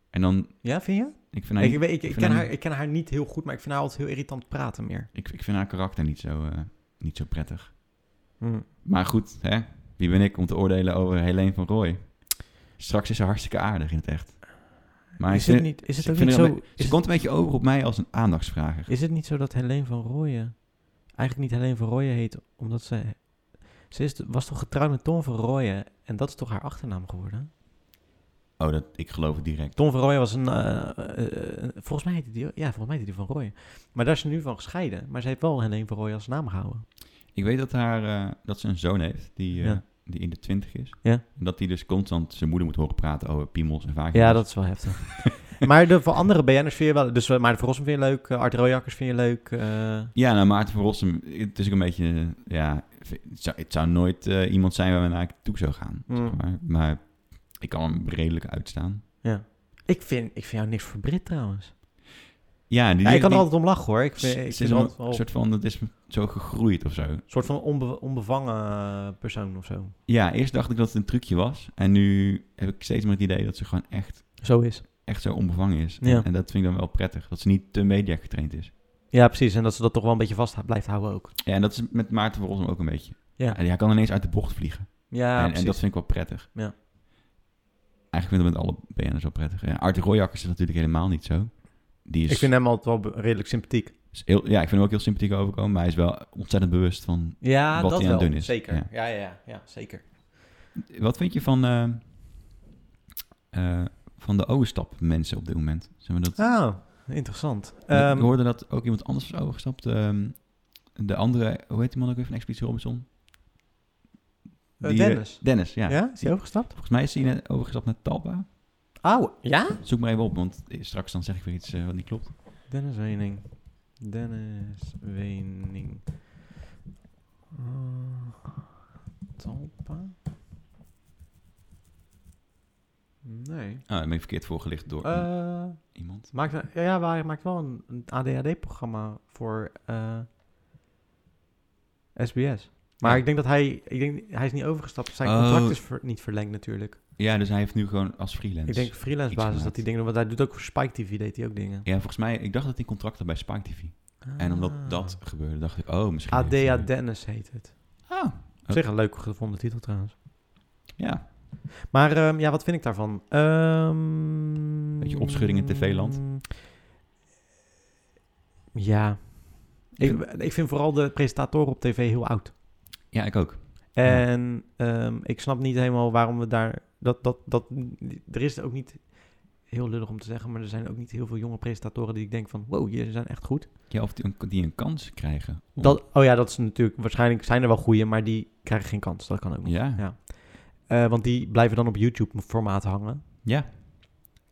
Speaker 2: En dan,
Speaker 1: Ja, vind je?
Speaker 2: ik vind haar,
Speaker 1: ik,
Speaker 2: niet-
Speaker 1: weet- ik, ik,
Speaker 2: vind
Speaker 1: ken
Speaker 2: haar
Speaker 1: haar,
Speaker 2: niet-
Speaker 1: ik ken haar niet heel goed, maar ik vind haar altijd heel irritant praten meer.
Speaker 2: ik, ik vind haar karakter niet zo, eh, niet zo prettig. Maar goed, hè? wie ben ik om te oordelen over Helene van Rooij? Straks is ze hartstikke aardig in het echt. Maar ik
Speaker 1: Is, het
Speaker 2: vind-
Speaker 1: niet, is, het
Speaker 2: ik
Speaker 1: ook
Speaker 2: vind
Speaker 1: niet
Speaker 2: het een
Speaker 1: zo,
Speaker 2: be-
Speaker 1: is,
Speaker 2: ze komt een beetje over op mij als een aandachtsvrager.
Speaker 1: is het niet zo dat Helene van Rooyen eigenlijk niet Helene van Rooyen heet, omdat ze... Ze is, was toch getrouwd met Tom van Rooyen en dat is toch haar achternaam geworden?
Speaker 2: Oh, dat, ik geloof het direct.
Speaker 1: Tom van Rooyen was een... eh, eh, eh, volgens mij heette die... Ja, volgens mij heette die van Rooyen. Maar daar is ze nu van gescheiden. Maar ze heeft wel Helene van Rooyen als naam gehouden.
Speaker 2: Ik weet dat, haar, eh, dat ze een zoon heeft die, eh,
Speaker 1: Ja.
Speaker 2: die in de twintig is.
Speaker 1: Ja.
Speaker 2: En dat hij dus constant zijn moeder moet horen praten over piemels en vaak.
Speaker 1: Ja, dat is wel heftig. (laughs) Maar de voor andere BN'ers vind je wel... Dus eh, Maarten van Rossum vind je leuk, eh, Art Rooijakkers vind je leuk. eh,
Speaker 2: Ja, nou, Maarten van Rossum, het is ook een beetje, eh, ja, het zou, het zou nooit eh, iemand zijn waar we naar toe zou gaan.
Speaker 1: Mm.
Speaker 2: zeg maar. maar ik kan hem redelijk uitstaan.
Speaker 1: ik, vind, ik vind jou niks voor Brit trouwens.
Speaker 2: Ja, die,
Speaker 1: Ja, ik kan er
Speaker 2: die-
Speaker 1: altijd om lachen hoor. Ik vind,
Speaker 2: het
Speaker 1: ik
Speaker 2: is
Speaker 1: vind
Speaker 2: een
Speaker 1: altijd wel een soort,
Speaker 2: soort van, het is zo gegroeid of zo.
Speaker 1: van onbe- onbevangen eh, persoon of zo.
Speaker 2: Ja, eerst dacht ik dat het een trucje was. En nu heb ik steeds meer het idee dat ze gewoon echt,
Speaker 1: Zo is.
Speaker 2: echt zo onbevangen is.
Speaker 1: Ja.
Speaker 2: En dat vind ik dan wel prettig. Dat ze niet te media getraind is.
Speaker 1: Ja, precies. En dat ze dat toch wel een beetje vast blijft houden ook.
Speaker 2: Ja, en dat is met Maarten van Rossum ook een beetje.
Speaker 1: Ja.
Speaker 2: En hij kan ineens uit de bocht vliegen.
Speaker 1: Ja,
Speaker 2: en, en dat vind ik wel prettig.
Speaker 1: Ja.
Speaker 2: Eigenlijk vind ik dat met alle BN'ers wel prettig. En Arthur Royakkers is natuurlijk helemaal niet zo. Die is,
Speaker 1: Ik vind hem altijd wel be- redelijk sympathiek.
Speaker 2: is heel, ja, ik vind hem ook heel sympathiek overkomen. Maar hij is wel ontzettend bewust van...
Speaker 1: Ja,
Speaker 2: Wat
Speaker 1: dat
Speaker 2: hij aan
Speaker 1: wel.
Speaker 2: het doen is.
Speaker 1: Zeker.
Speaker 2: Ja.
Speaker 1: Ja. Ja, ja, ja, zeker.
Speaker 2: Wat vind je van, eh, eh, van de overstap mensen op dit moment? Zeg maar dat,
Speaker 1: Ah, interessant.
Speaker 2: dat-
Speaker 1: Ehm,
Speaker 2: ik hoorde dat ook iemand anders was overgestapt. ehm, de andere, hoe heet die man ook weer van Expeditie Robinson?
Speaker 1: Eh,
Speaker 2: eh,
Speaker 1: Dennis.
Speaker 2: Dennis, ja.
Speaker 1: ja. is hij overgestapt?
Speaker 2: Volgens mij is hij net overgestapt naar Talpa.
Speaker 1: Auw, ja?
Speaker 2: Zoek maar even op, want straks dan zeg ik weer iets eh, wat niet klopt.
Speaker 1: Dennis Wening. Dennis Wening. Mm,
Speaker 2: Eh,
Speaker 1: Talpa? Nee.
Speaker 2: Ah, ik ben verkeerd voorgelicht door een-
Speaker 1: Eh,
Speaker 2: iemand.
Speaker 1: maakt, ja, ja, maar hij maakt wel een, een ADHD-programma voor eh, SBS. Maar
Speaker 2: Ja.
Speaker 1: ik denk dat hij... Ik denk, hij is niet overgestapt. Zijn
Speaker 2: Oh.
Speaker 1: contract is ver- niet verlengd natuurlijk.
Speaker 2: Ja, dus hij heeft nu gewoon als freelance.
Speaker 1: Ik denk freelance basis
Speaker 2: iets
Speaker 1: dat
Speaker 2: gemaakt.
Speaker 1: hij dingen doet. Want hij doet ook voor Spike TV, deed hij ook dingen.
Speaker 2: Ja, volgens mij, ik dacht dat hij contract had bij Spike TV. En
Speaker 1: Ah.
Speaker 2: omdat dat gebeurde, dacht ik, oh, misschien... heeft hij-
Speaker 1: ADA Dennis heet het.
Speaker 2: Ah,
Speaker 1: Op zich een leuk gevonden titel trouwens.
Speaker 2: ja.
Speaker 1: Maar ehm, ja, wat vind ik daarvan? Ehm,
Speaker 2: Beetje opschudding in TV-land.
Speaker 1: Ja. Ik, ik vind vooral de presentatoren op tv heel oud.
Speaker 2: Ja, ik ook.
Speaker 1: En ehm, ik snap niet helemaal waarom we daar... Dat, dat, dat, er is ook niet... Heel lullig om te zeggen, maar er zijn ook niet heel veel jonge presentatoren die ik denk van... Wow, jullie zijn echt goed.
Speaker 2: Ja, of die een, die een kans krijgen. om-
Speaker 1: Dat, oh ja, dat is natuurlijk. Waarschijnlijk zijn er wel goeie, maar die krijgen geen kans. Dat kan ook nog.
Speaker 2: Ja.
Speaker 1: Ja. Eh, want die blijven dan op YouTube-formaat hangen.
Speaker 2: Ja.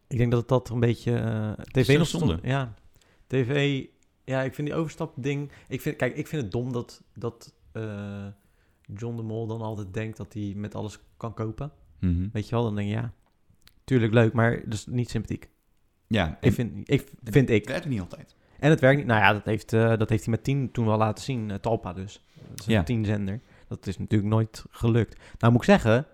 Speaker 1: Ik denk dat dat een beetje. eh,
Speaker 2: is zo
Speaker 1: TV nog stond-
Speaker 2: zonde.
Speaker 1: Ja. TV. Ja, ik vind die overstapding. Ik vind, kijk, ik vind het dom dat, dat eh, John de Mol dan altijd denkt dat hij met alles kan kopen.
Speaker 2: Mhm.
Speaker 1: Weet je wel? Dan denk je ja. Tuurlijk leuk, maar dus niet sympathiek.
Speaker 2: Ja.
Speaker 1: Ik vind, ik, vind ik.
Speaker 2: werkt niet altijd.
Speaker 1: En het werkt niet. Nou ja, dat heeft, eh, dat heeft hij met 10 toen wel laten zien. eh, Talpa dus. Dat is
Speaker 2: Ja.
Speaker 1: een 10 zender. Dat is natuurlijk nooit gelukt. Nou moet ik zeggen,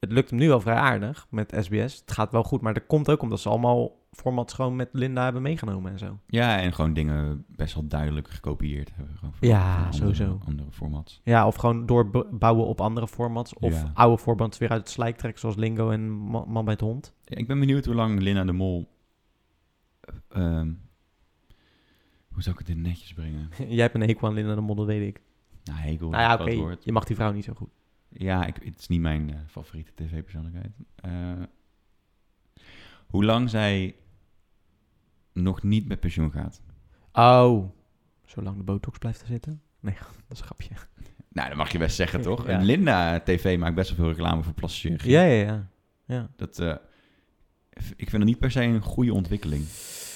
Speaker 1: het lukt hem nu wel vrij aardig met SBS. Het gaat wel goed, maar dat komt ook omdat ze allemaal formats gewoon met Linda hebben meegenomen en zo.
Speaker 2: Ja, en gewoon dingen best wel duidelijk gekopieerd hebben. Gewoon van-
Speaker 1: Ja,
Speaker 2: van andere-
Speaker 1: sowieso.
Speaker 2: Andere formats.
Speaker 1: Ja, of gewoon doorbouwen op andere formats. Of
Speaker 2: Ja.
Speaker 1: oude formats weer uit het slijk trekken, zoals Lingo en Ma- Man bij het Hond. (laughs)
Speaker 2: Ja, ik ben benieuwd hoe lang Linda de Mol... ehm, hoe zou ik het in netjes brengen?
Speaker 1: Jij hebt een hekel aan Linda de Model, weet ik.
Speaker 2: Nou, hekel.
Speaker 1: nou ja,
Speaker 2: groot
Speaker 1: oké,
Speaker 2: woord.
Speaker 1: je mag die vrouw niet zo goed.
Speaker 2: Ja, ik, het is niet mijn eh, favoriete tv-persoonlijkheid. Eh, hoe lang zij nog niet met pensioen gaat.
Speaker 1: Oh, zolang de botox blijft zitten. Nee, (laughs) dat is een grapje.
Speaker 2: Nou, dat mag je best
Speaker 1: (laughs)
Speaker 2: zeggen, toch?
Speaker 1: Ja.
Speaker 2: En Linda TV maakt best wel veel reclame voor plastic chirurgie.
Speaker 1: Ja, ja, ja. ja.
Speaker 2: Dat, eh, v- ik vind dat niet per se een goede ontwikkeling.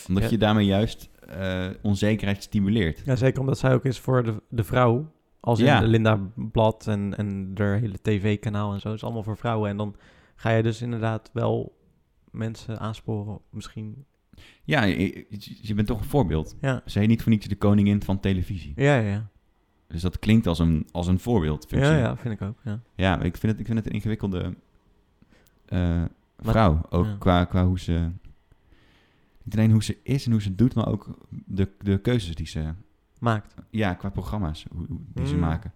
Speaker 2: Omdat
Speaker 1: Ja.
Speaker 2: je daarmee juist eh, onzekerheid stimuleert.
Speaker 1: Ja, zeker omdat zij ook is voor de, de vrouw. Als in
Speaker 2: Ja.
Speaker 1: Linda Blad en, en haar hele tv-kanaal en zo. Het is allemaal voor vrouwen. En dan ga je dus inderdaad wel mensen aansporen. Misschien.
Speaker 2: Ja, je, je- je bent toch een voorbeeld.
Speaker 1: Ja,
Speaker 2: Ze heet niet voor niets de koningin van televisie.
Speaker 1: ja, ja, ja.
Speaker 2: Dus dat klinkt als een, als een voorbeeldfunctie.
Speaker 1: Ja, ja, vind ik ook. Ja.
Speaker 2: Ja, maar ik vind het, ik vind het een ingewikkelde eh, vrouw. Ook
Speaker 1: ja.
Speaker 2: qua, qua hoe ze... Niet alleen hoe ze is en hoe ze doet, maar ook de, de keuzes die ze...
Speaker 1: Maakt.
Speaker 2: Ja, qua programma's hoe, hoe- die ze
Speaker 1: Mm.
Speaker 2: maken.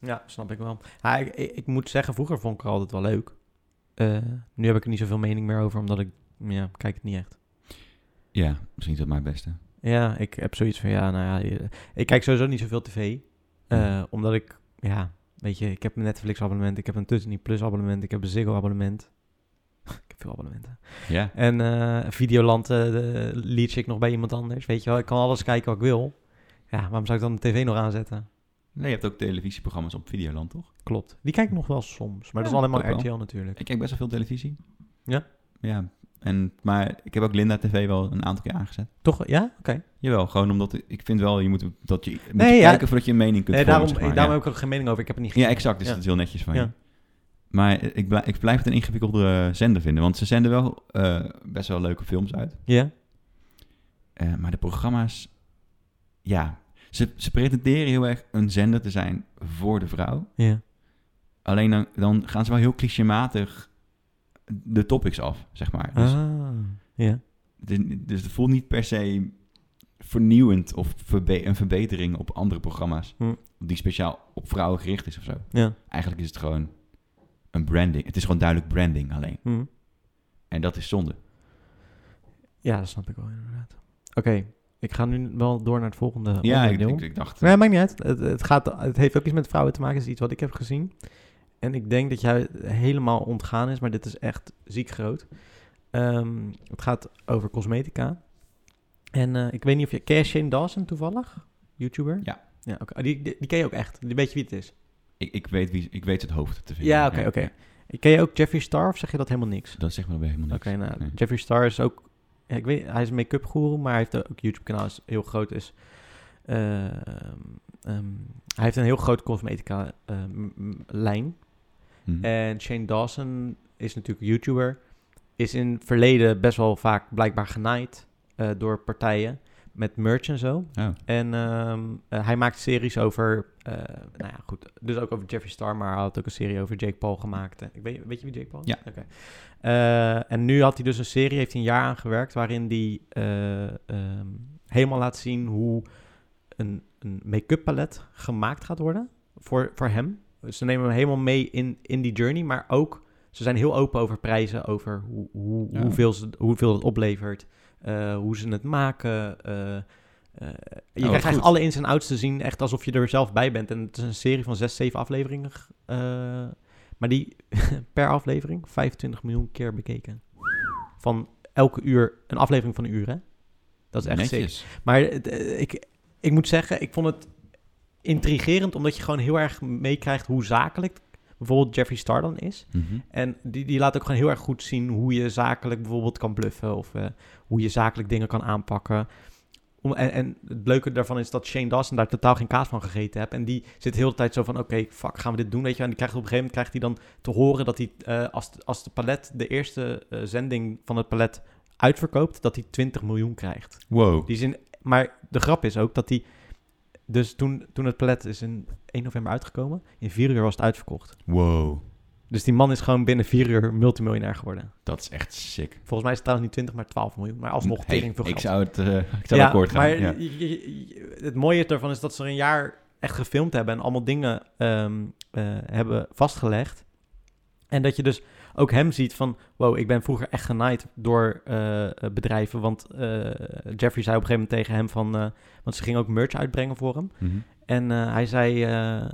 Speaker 1: Ja, snap ik wel. Ja, ik, ik, ik moet zeggen, vroeger vond ik haar altijd wel leuk. Eh, nu heb ik er niet zoveel mening meer over, omdat ik. Ja, kijk het niet echt.
Speaker 2: Ja, misschien is dat mijn beste.
Speaker 1: Ja, ik heb zoiets van, ja, nou ja, je- ik kijk sowieso niet zoveel tv. eh,
Speaker 2: Mm.
Speaker 1: Omdat ik, ja, weet je, ik heb een Netflix abonnement, ik heb een Disney Plus abonnement, ik heb een Ziggo abonnement. (laughs) ik heb veel abonnementen.
Speaker 2: Ja,
Speaker 1: En eh Videoland eh, de- lease ik nog bij iemand anders, weet je wel. Ik kan alles kijken wat ik wil. Ja, waarom zou ik dan de tv nog aanzetten?
Speaker 2: nee, je hebt ook televisieprogramma's op Videoland, toch?
Speaker 1: Klopt. Die kijk ik nog wel soms, maar dat
Speaker 2: Ja,
Speaker 1: is allemaal
Speaker 2: ook wel.
Speaker 1: RTL natuurlijk.
Speaker 2: Ik kijk best wel veel televisie.
Speaker 1: Ja?
Speaker 2: Ja, En, maar ik heb ook Linda TV wel een aantal keer aangezet.
Speaker 1: Toch? Ja? Oké.
Speaker 2: Jawel, gewoon omdat ik- ik vind wel, je moet, dat je, moet je
Speaker 1: Nee, ja.
Speaker 2: kijken voordat je een mening kunt
Speaker 1: Nee,
Speaker 2: vormen,
Speaker 1: daarom,
Speaker 2: zeg maar,
Speaker 1: daarom
Speaker 2: ja.
Speaker 1: heb ik er geen mening over. Ik heb het niet
Speaker 2: Ja, exact. Dus
Speaker 1: Ja.
Speaker 2: dat is heel netjes van je.
Speaker 1: Ja.
Speaker 2: Maar ik, blij- ik blijf het een ingewikkeldere zender vinden. Want ze zenden wel eh, best wel leuke films uit.
Speaker 1: Ja.
Speaker 2: Eh, maar de programma's... Ja, ze, ze pretenderen heel erg een zender te zijn voor de vrouw.
Speaker 1: Ja.
Speaker 2: Alleen dan, dan gaan ze wel heel clichématig de topics af, zeg maar. Dus,
Speaker 1: Ah. Ja.
Speaker 2: het is- dus het voelt niet per se vernieuwend of verbe- een verbetering op andere programma's.
Speaker 1: Hm.
Speaker 2: Die speciaal op vrouwen gericht is of zo.
Speaker 1: Ja.
Speaker 2: Eigenlijk is het gewoon een branding. Het is gewoon duidelijk branding alleen.
Speaker 1: Hm.
Speaker 2: En dat is zonde.
Speaker 1: Ja, dat snap ik wel inderdaad. Oké, ik ga nu wel door naar het volgende
Speaker 2: ja, ik,
Speaker 1: onderdeel.
Speaker 2: ik, ik dacht...
Speaker 1: Nee, maakt niet uit. Het, het, gaat, het heeft ook iets met vrouwen te maken. Het is iets wat ik heb gezien. En ik denk dat jij helemaal ontgaan is, maar dit is echt ziek groot. Ehm, het gaat over cosmetica. En eh, ik weet niet of je... Ken je Shane Dawson toevallig? YouTuber?
Speaker 2: Ja.
Speaker 1: ja oké. Oh, die, die, die ken je ook echt. Die weet je wie het is.
Speaker 2: Ik, ik, weet wie, ik weet het hoofd te vinden.
Speaker 1: Ja, oké, oké. Ken je ook Jeffree Star of zeg je dat helemaal niks?
Speaker 2: Dat zegt me dan weer helemaal niks.
Speaker 1: Oké, nou,
Speaker 2: Nee.
Speaker 1: Jeffree Star is ook... ja, ik weet, hij is een make-up guru, maar hij heeft ook een YouTube-kanaal, is heel groot. Is, eh, ehm, ehm, hij heeft een heel ehm, groot cosmetica-lijn.
Speaker 2: Hm.
Speaker 1: En Shane Dawson is natuurlijk YouTuber. Is in het verleden best wel vaak blijkbaar genaaid eh, door partijen met merch en zo.
Speaker 2: Oh.
Speaker 1: En ehm, eh, hij maakt series over, eh, nou ja, goed, dus ook over Jeffree Star, maar hij had ook een serie over Jake Paul gemaakt. En Ik weet, weet je wie Jake Paul is?
Speaker 2: Ja.
Speaker 1: Oké. Eh, en nu had hij dus een serie, heeft hij een jaar aan gewerkt, waarin hij eh, ehm, helemaal laat zien hoe een, een make-up palet gemaakt gaat worden voor, voor hem. Dus Ze nemen hem helemaal mee in, in die journey, maar ook, ze zijn heel open over prijzen, over hoe, hoe,
Speaker 2: Ja.
Speaker 1: hoeveel, ze, hoeveel het oplevert, eh, hoe ze het maken, eh, eh, je
Speaker 2: wat
Speaker 1: krijgt
Speaker 2: Oh, goed.
Speaker 1: eigenlijk alle ins en outs te zien, echt alsof je er zelf bij bent. En het is een serie van zes, zeven afleveringen. eh, maar die per aflevering 25 miljoen keer bekeken. Van elke uur, een aflevering van een uur, hè? Dat is echt sick.
Speaker 2: Netjes.
Speaker 1: Maar het, eh, ik, ik moet zeggen, ik vond het intrigerend, omdat je gewoon heel erg meekrijgt hoe zakelijk bijvoorbeeld Jeffree Star dan is.
Speaker 2: Mhm.
Speaker 1: En die, die laat ook gewoon heel erg goed zien hoe je zakelijk bijvoorbeeld kan bluffen. Of eh, hoe je zakelijk dingen kan aanpakken. Om, en, en het leuke daarvan is dat Shane Dawson daar totaal geen kaas van gegeten heeft. En die zit heel de tijd zo van, oké, fuck, gaan we dit doen? Weet je? En die krijgt op een gegeven moment krijgt hij dan te horen dat hij, eh, als, als de palet, de eerste eh, zending van het palet uitverkoopt, dat hij 20 miljoen krijgt.
Speaker 2: Wow.
Speaker 1: Die zin, maar de grap is ook dat die... Dus toen, toen het palet is in 1 november uitgekomen, in 4 uur was het uitverkocht.
Speaker 2: Wow.
Speaker 1: Dus die man is gewoon binnen vier uur multimiljonair geworden.
Speaker 2: Dat is echt sick.
Speaker 1: Volgens mij is het trouwens niet 20, maar 12 miljoen. Maar alsnog
Speaker 2: Hey,
Speaker 1: tegen veel
Speaker 2: ik
Speaker 1: geld.
Speaker 2: zou het eh, ik zou
Speaker 1: ja,
Speaker 2: akkoord gaan.
Speaker 1: Maar
Speaker 2: ja.
Speaker 1: je- je- je- het mooie daarvan is dat ze er een jaar echt gefilmd hebben... en allemaal dingen ehm, eh, hebben vastgelegd. En dat je dus ook hem ziet van... wow, ik ben vroeger echt genaaid door eh, eh, bedrijven. Want eh, Jeffrey zei op een gegeven moment tegen hem van... eh, want ze gingen ook merch uitbrengen voor hem.
Speaker 2: Mhm.
Speaker 1: En eh, hij zei, eh,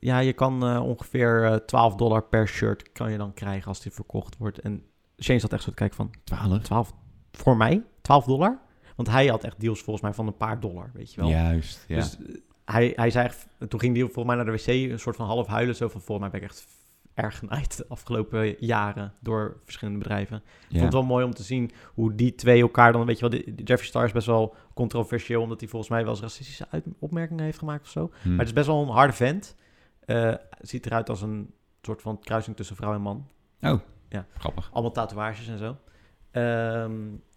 Speaker 1: ja, je kan eh, ongeveer eh, 12 dollar per shirt kan je dan krijgen als die verkocht wordt. En Shane zat echt zo te kijken van,
Speaker 2: 12?
Speaker 1: 12 voor mij? 12 dollar? Want hij had echt deals volgens mij van een paar dollar, weet je wel.
Speaker 2: Juist, ja.
Speaker 1: Dus eh, hij, hij zei echt, toen ging hij volgens mij naar de wc, een soort van half huilen. Zo van, volgens mij ben ik echt erg genaaid de afgelopen jaren door verschillende bedrijven.
Speaker 2: ja.
Speaker 1: Ik vond het wel mooi om te zien hoe die twee elkaar dan, weet je wel, die- die Jeffree Star is best wel controversieel, omdat hij volgens mij wel eens racistische uit- opmerkingen heeft gemaakt of zo.
Speaker 2: Hm.
Speaker 1: Maar het is best wel een harde vent. Eh, ziet eruit als een soort van kruising tussen vrouw en man.
Speaker 2: Grappig.
Speaker 1: Allemaal tatoeages en zo. Ehm,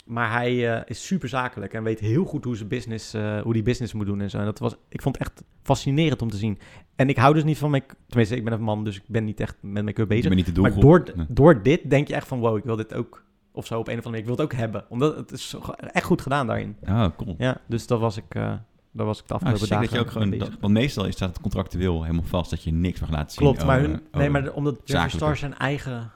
Speaker 1: maar hij eh, is super zakelijk en weet heel goed hoe, zijn business, eh, hoe die business moet doen en zo. En dat was, ik vond het echt fascinerend om te zien. En ik hou dus niet van make Tenminste, ik ben een man, dus ik ben niet echt met make-up
Speaker 2: Ik
Speaker 1: bezig.
Speaker 2: ben niet de
Speaker 1: Maar
Speaker 2: doelgroep.
Speaker 1: door,
Speaker 2: Nee.
Speaker 1: door dit denk je echt van, wow, ik wil dit ook. Of zo op een of andere manier. Ik wil het ook hebben. Omdat het is zo- echt goed gedaan daarin.
Speaker 2: Oh, cool.
Speaker 1: Ja, dus dat was ik, eh dat was ik de
Speaker 2: Ah,
Speaker 1: afgelopen
Speaker 2: sick
Speaker 1: dagen
Speaker 2: dat je ook
Speaker 1: mee
Speaker 2: gewoon...
Speaker 1: bezig.
Speaker 2: dat- want meestal is- staat het contractueel helemaal vast dat je niks mag laten zien.
Speaker 1: Klopt,
Speaker 2: Oh,
Speaker 1: maar,
Speaker 2: eh,
Speaker 1: hun,
Speaker 2: oh,
Speaker 1: nee, maar de- omdat Jeffree
Speaker 2: zakelijke.
Speaker 1: Star zijn eigen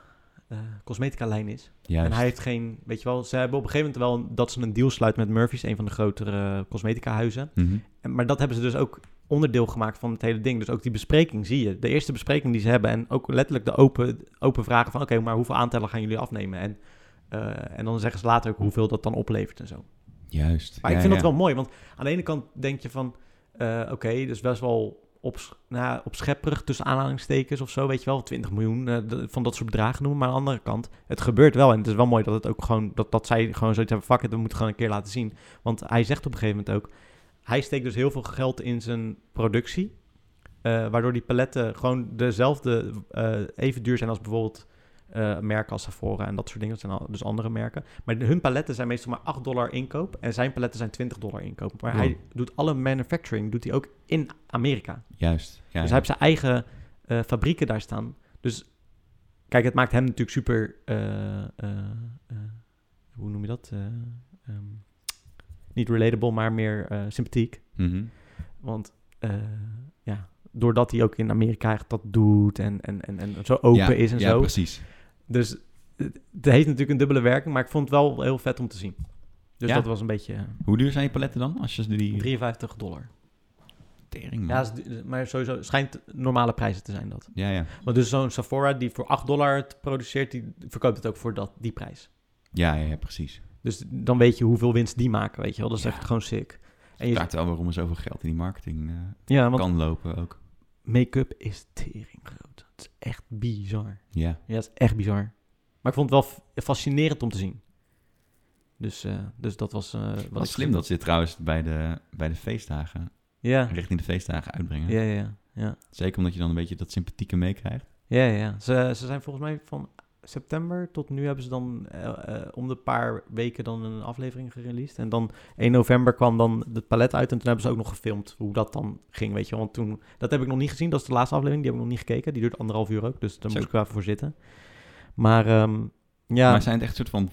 Speaker 1: eh, cosmetica-lijn is.
Speaker 2: Juist.
Speaker 1: En hij heeft geen, weet je wel, ze hebben op een gegeven moment wel een- dat ze een deal sluiten met Murphy's, een van de grotere cosmetica-huizen.
Speaker 2: Mhm.
Speaker 1: En- Maar dat hebben ze dus ook onderdeel gemaakt van het hele ding. Dus ook die bespreking zie je. De eerste bespreking die ze hebben en ook letterlijk de open, open vragen van oké, maar hoeveel aantellen gaan jullie afnemen? En, eh, en dan zeggen ze later ook hoeveel dat dan oplevert en zo.
Speaker 2: Juist.
Speaker 1: Maar
Speaker 2: ja,
Speaker 1: ik vind
Speaker 2: ja.
Speaker 1: dat wel mooi, want aan de ene kant denk je van, eh, oké, dus best wel op, nou, opschepperig tussen aanhalingstekens of zo, weet je wel, 20 miljoen eh, d- van dat soort bedragen noemen. Maar aan de andere kant, het gebeurt wel. En het is wel mooi dat het ook gewoon, dat, dat zij gewoon zoiets hebben, fuck it, we moeten gewoon een keer laten zien. Want hij zegt op een gegeven moment ook, hij steekt dus heel veel geld in zijn productie. eh, waardoor die paletten gewoon dezelfde, eh, even duur zijn als bijvoorbeeld eh, merken als Sephora en dat soort dingen. Dat zijn al- dus andere merken. Maar hun paletten zijn meestal maar 8 dollar inkoop. En zijn paletten zijn 20 dollar inkoop. Maar
Speaker 2: Ja.
Speaker 1: hij doet alle manufacturing doet hij ook in Amerika.
Speaker 2: Juist. Ja,
Speaker 1: Dus
Speaker 2: ja.
Speaker 1: hij heeft zijn eigen eh, fabrieken daar staan. Dus kijk, het maakt hem natuurlijk super. eh, eh, eh, hoe noem je dat? Eh, ehm, niet relatable, maar meer eh, sympathiek.
Speaker 2: Mhm.
Speaker 1: Want eh, ja, doordat hij ook in Amerika echt dat doet en, en, en, en zo open
Speaker 2: Ja,
Speaker 1: is en
Speaker 2: ja,
Speaker 1: zo.
Speaker 2: precies.
Speaker 1: Dus het het heeft natuurlijk een dubbele werking, maar ik vond het wel heel vet om te zien. Dus
Speaker 2: Ja.
Speaker 1: dat was een beetje eh,
Speaker 2: Hoe duur zijn je paletten dan? Als je die... Mm.
Speaker 1: 53 dollar.
Speaker 2: Tering, man.
Speaker 1: Ja, dat is du- maar sowieso schijnt normale prijzen te zijn dat.
Speaker 2: ja, ja.
Speaker 1: Maar dus zo'n Sephora die voor 8 dollar het produceert, die verkoopt het ook voor dat, die prijs.
Speaker 2: Ja, ja, ja, precies.
Speaker 1: Dus dan weet je hoeveel winst die maken, weet je wel. Dat is
Speaker 2: Ja.
Speaker 1: echt gewoon sick. En je,
Speaker 2: Kaart wel waarom er zoveel geld in die marketing eh,
Speaker 1: ja, want
Speaker 2: kan lopen ook.
Speaker 1: make-up is tering groot. Het is echt bizar.
Speaker 2: Ja.
Speaker 1: Ja, het is echt bizar. Maar ik vond het wel f- fascinerend om te zien. Dus, eh, dus dat was... eh, wat
Speaker 2: Wat
Speaker 1: ik
Speaker 2: slim dat ze dit trouwens bij de, bij de feestdagen,
Speaker 1: Ja,
Speaker 2: richting de feestdagen uitbrengen.
Speaker 1: ja, ja. ja.
Speaker 2: Zeker omdat je dan een beetje dat sympathieke meekrijgt.
Speaker 1: Ja, ja. Ze, ze zijn volgens mij van september tot nu hebben ze dan eh, eh, om de paar weken dan een aflevering gereleased. En dan 1 november kwam dan het palet uit en toen hebben ze ook nog gefilmd hoe dat dan ging, weet je. wel. Want toen, dat heb ik nog niet gezien, dat is de laatste aflevering, die heb ik nog niet gekeken. Die duurt anderhalf uur ook, dus daar
Speaker 2: Zo.
Speaker 1: moest ik wel even voor zitten. Maar ehm, ja,
Speaker 2: Maar zijn het echt soort van,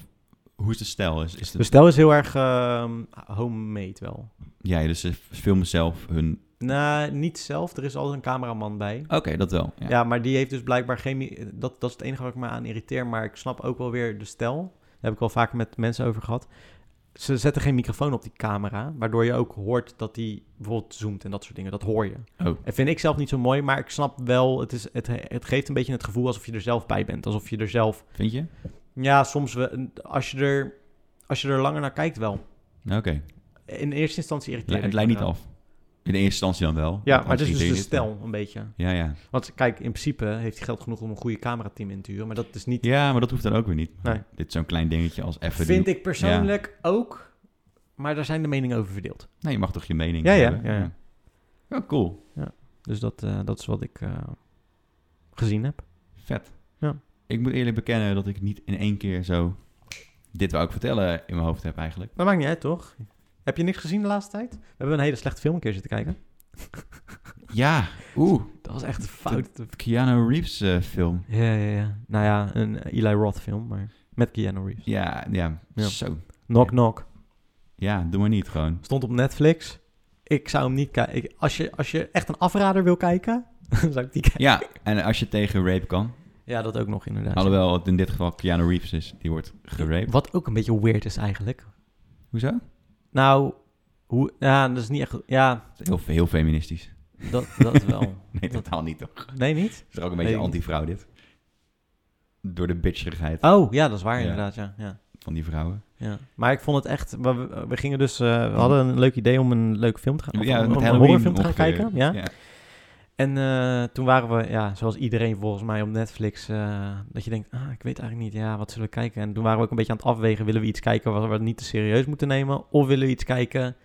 Speaker 2: hoe is de stijl? Is, is
Speaker 1: de
Speaker 2: de,
Speaker 1: stijl is heel erg ehm, homemade wel.
Speaker 2: ja, dus ze filmen zelf hun...
Speaker 1: Nou, niet zelf, er is altijd een cameraman bij.
Speaker 2: Oké, dat wel. Ja.
Speaker 1: Ja. maar die heeft dus blijkbaar chemie. Dat, dat is het enige wat ik me aan irriteer. Maar ik snap ook wel weer de stijl. Daar heb ik al vaker met mensen over gehad. Ze zetten geen microfoon op die camera. Waardoor je ook hoort dat die bijvoorbeeld zoomt en dat soort dingen. Dat hoor je.
Speaker 2: Oh.
Speaker 1: En vind ik zelf niet zo mooi. Maar ik snap wel. Het, is, het, het geeft een beetje het gevoel alsof je er zelf bij bent. Alsof je er zelf.
Speaker 2: Vind je?
Speaker 1: Ja, soms. We, als, je er, als je er langer naar kijkt, wel.
Speaker 2: Oké.
Speaker 1: In eerste instantie
Speaker 2: Ja,
Speaker 1: irriteert
Speaker 2: Het lijkt niet
Speaker 1: al.
Speaker 2: af. In de eerste instantie dan wel.
Speaker 1: Ja,
Speaker 2: want
Speaker 1: maar het is dus
Speaker 2: anders
Speaker 1: de
Speaker 2: irriteert het
Speaker 1: stijl een beetje.
Speaker 2: me. Ja, ja.
Speaker 1: Want kijk, in principe heeft hij geld genoeg om een goede camerateam in te huren. Maar dat is niet
Speaker 2: Ja, maar dat hoeft dan ook weer niet.
Speaker 1: Nee.
Speaker 2: Dit is zo'n klein dingetje als even...
Speaker 1: Vind
Speaker 2: die-
Speaker 1: ik persoonlijk ook. Maar daar zijn de meningen over verdeeld.
Speaker 2: Nee, je mag toch je mening
Speaker 1: Ja, ja,
Speaker 2: hebben?
Speaker 1: ja, ja.
Speaker 2: Oh, cool.
Speaker 1: Dus dat, eh, dat is wat ik eh, gezien heb.
Speaker 2: Vet.
Speaker 1: Ja.
Speaker 2: Ik moet eerlijk bekennen dat ik niet in één keer zo dit wou ik vertellen in mijn hoofd heb eigenlijk.
Speaker 1: Dat maakt niet uit, toch? Heb je niks gezien de laatste tijd? We hebben een hele slechte film een keer zitten kijken.
Speaker 2: Ja, oeh,
Speaker 1: Dat was echt een fout.
Speaker 2: Keanu Reeves eh, film.
Speaker 1: Ja, ja, ja. Nou ja, een Eli Roth film, maar met Keanu Reeves.
Speaker 2: Ja, ja,
Speaker 1: Ja.
Speaker 2: zo.
Speaker 1: Knock Knock.
Speaker 2: Ja, doe maar niet gewoon.
Speaker 1: Stond op Netflix. Ik zou hem niet kijken. Als je, als je echt een afrader wil kijken, (laughs) dan zou ik die kijken.
Speaker 2: Ja, en als je tegen rape kan.
Speaker 1: Ja, dat ook nog inderdaad.
Speaker 2: Alhoewel het in dit geval Keanu Reeves is, die wordt geraped.
Speaker 1: Wat ook een beetje weird is eigenlijk.
Speaker 2: Hoezo?
Speaker 1: Nou, hoe, ja, dat is niet echt... Ja,
Speaker 2: Heel, heel feministisch.
Speaker 1: dat, (laughs) dat wel.
Speaker 2: Nee,
Speaker 1: Dat-
Speaker 2: totaal niet toch.
Speaker 1: Nee, niet?
Speaker 2: Het is er ook een beetje
Speaker 1: Nee.
Speaker 2: anti-vrouw dit. Door de bitcherigheid
Speaker 1: Oh, ja, dat is waar
Speaker 2: Ja.
Speaker 1: inderdaad, ja. ja.
Speaker 2: van die vrouwen.
Speaker 1: Ja. Maar ik vond het echt... We, we- we gingen dus... eh, we hadden een leuk idee om een leuke film te gaan... of om, om een horrorfilm te gaan
Speaker 2: ongeveer.
Speaker 1: kijken. Ja?
Speaker 2: ja.
Speaker 1: En eh, toen waren we, ja, zoals iedereen volgens mij op Netflix... eh, dat je denkt, ah, ik weet eigenlijk niet, ja, wat zullen we kijken? En toen waren we ook een beetje aan het afwegen. Willen we iets kijken wat we niet te serieus moeten nemen? Of willen we iets kijken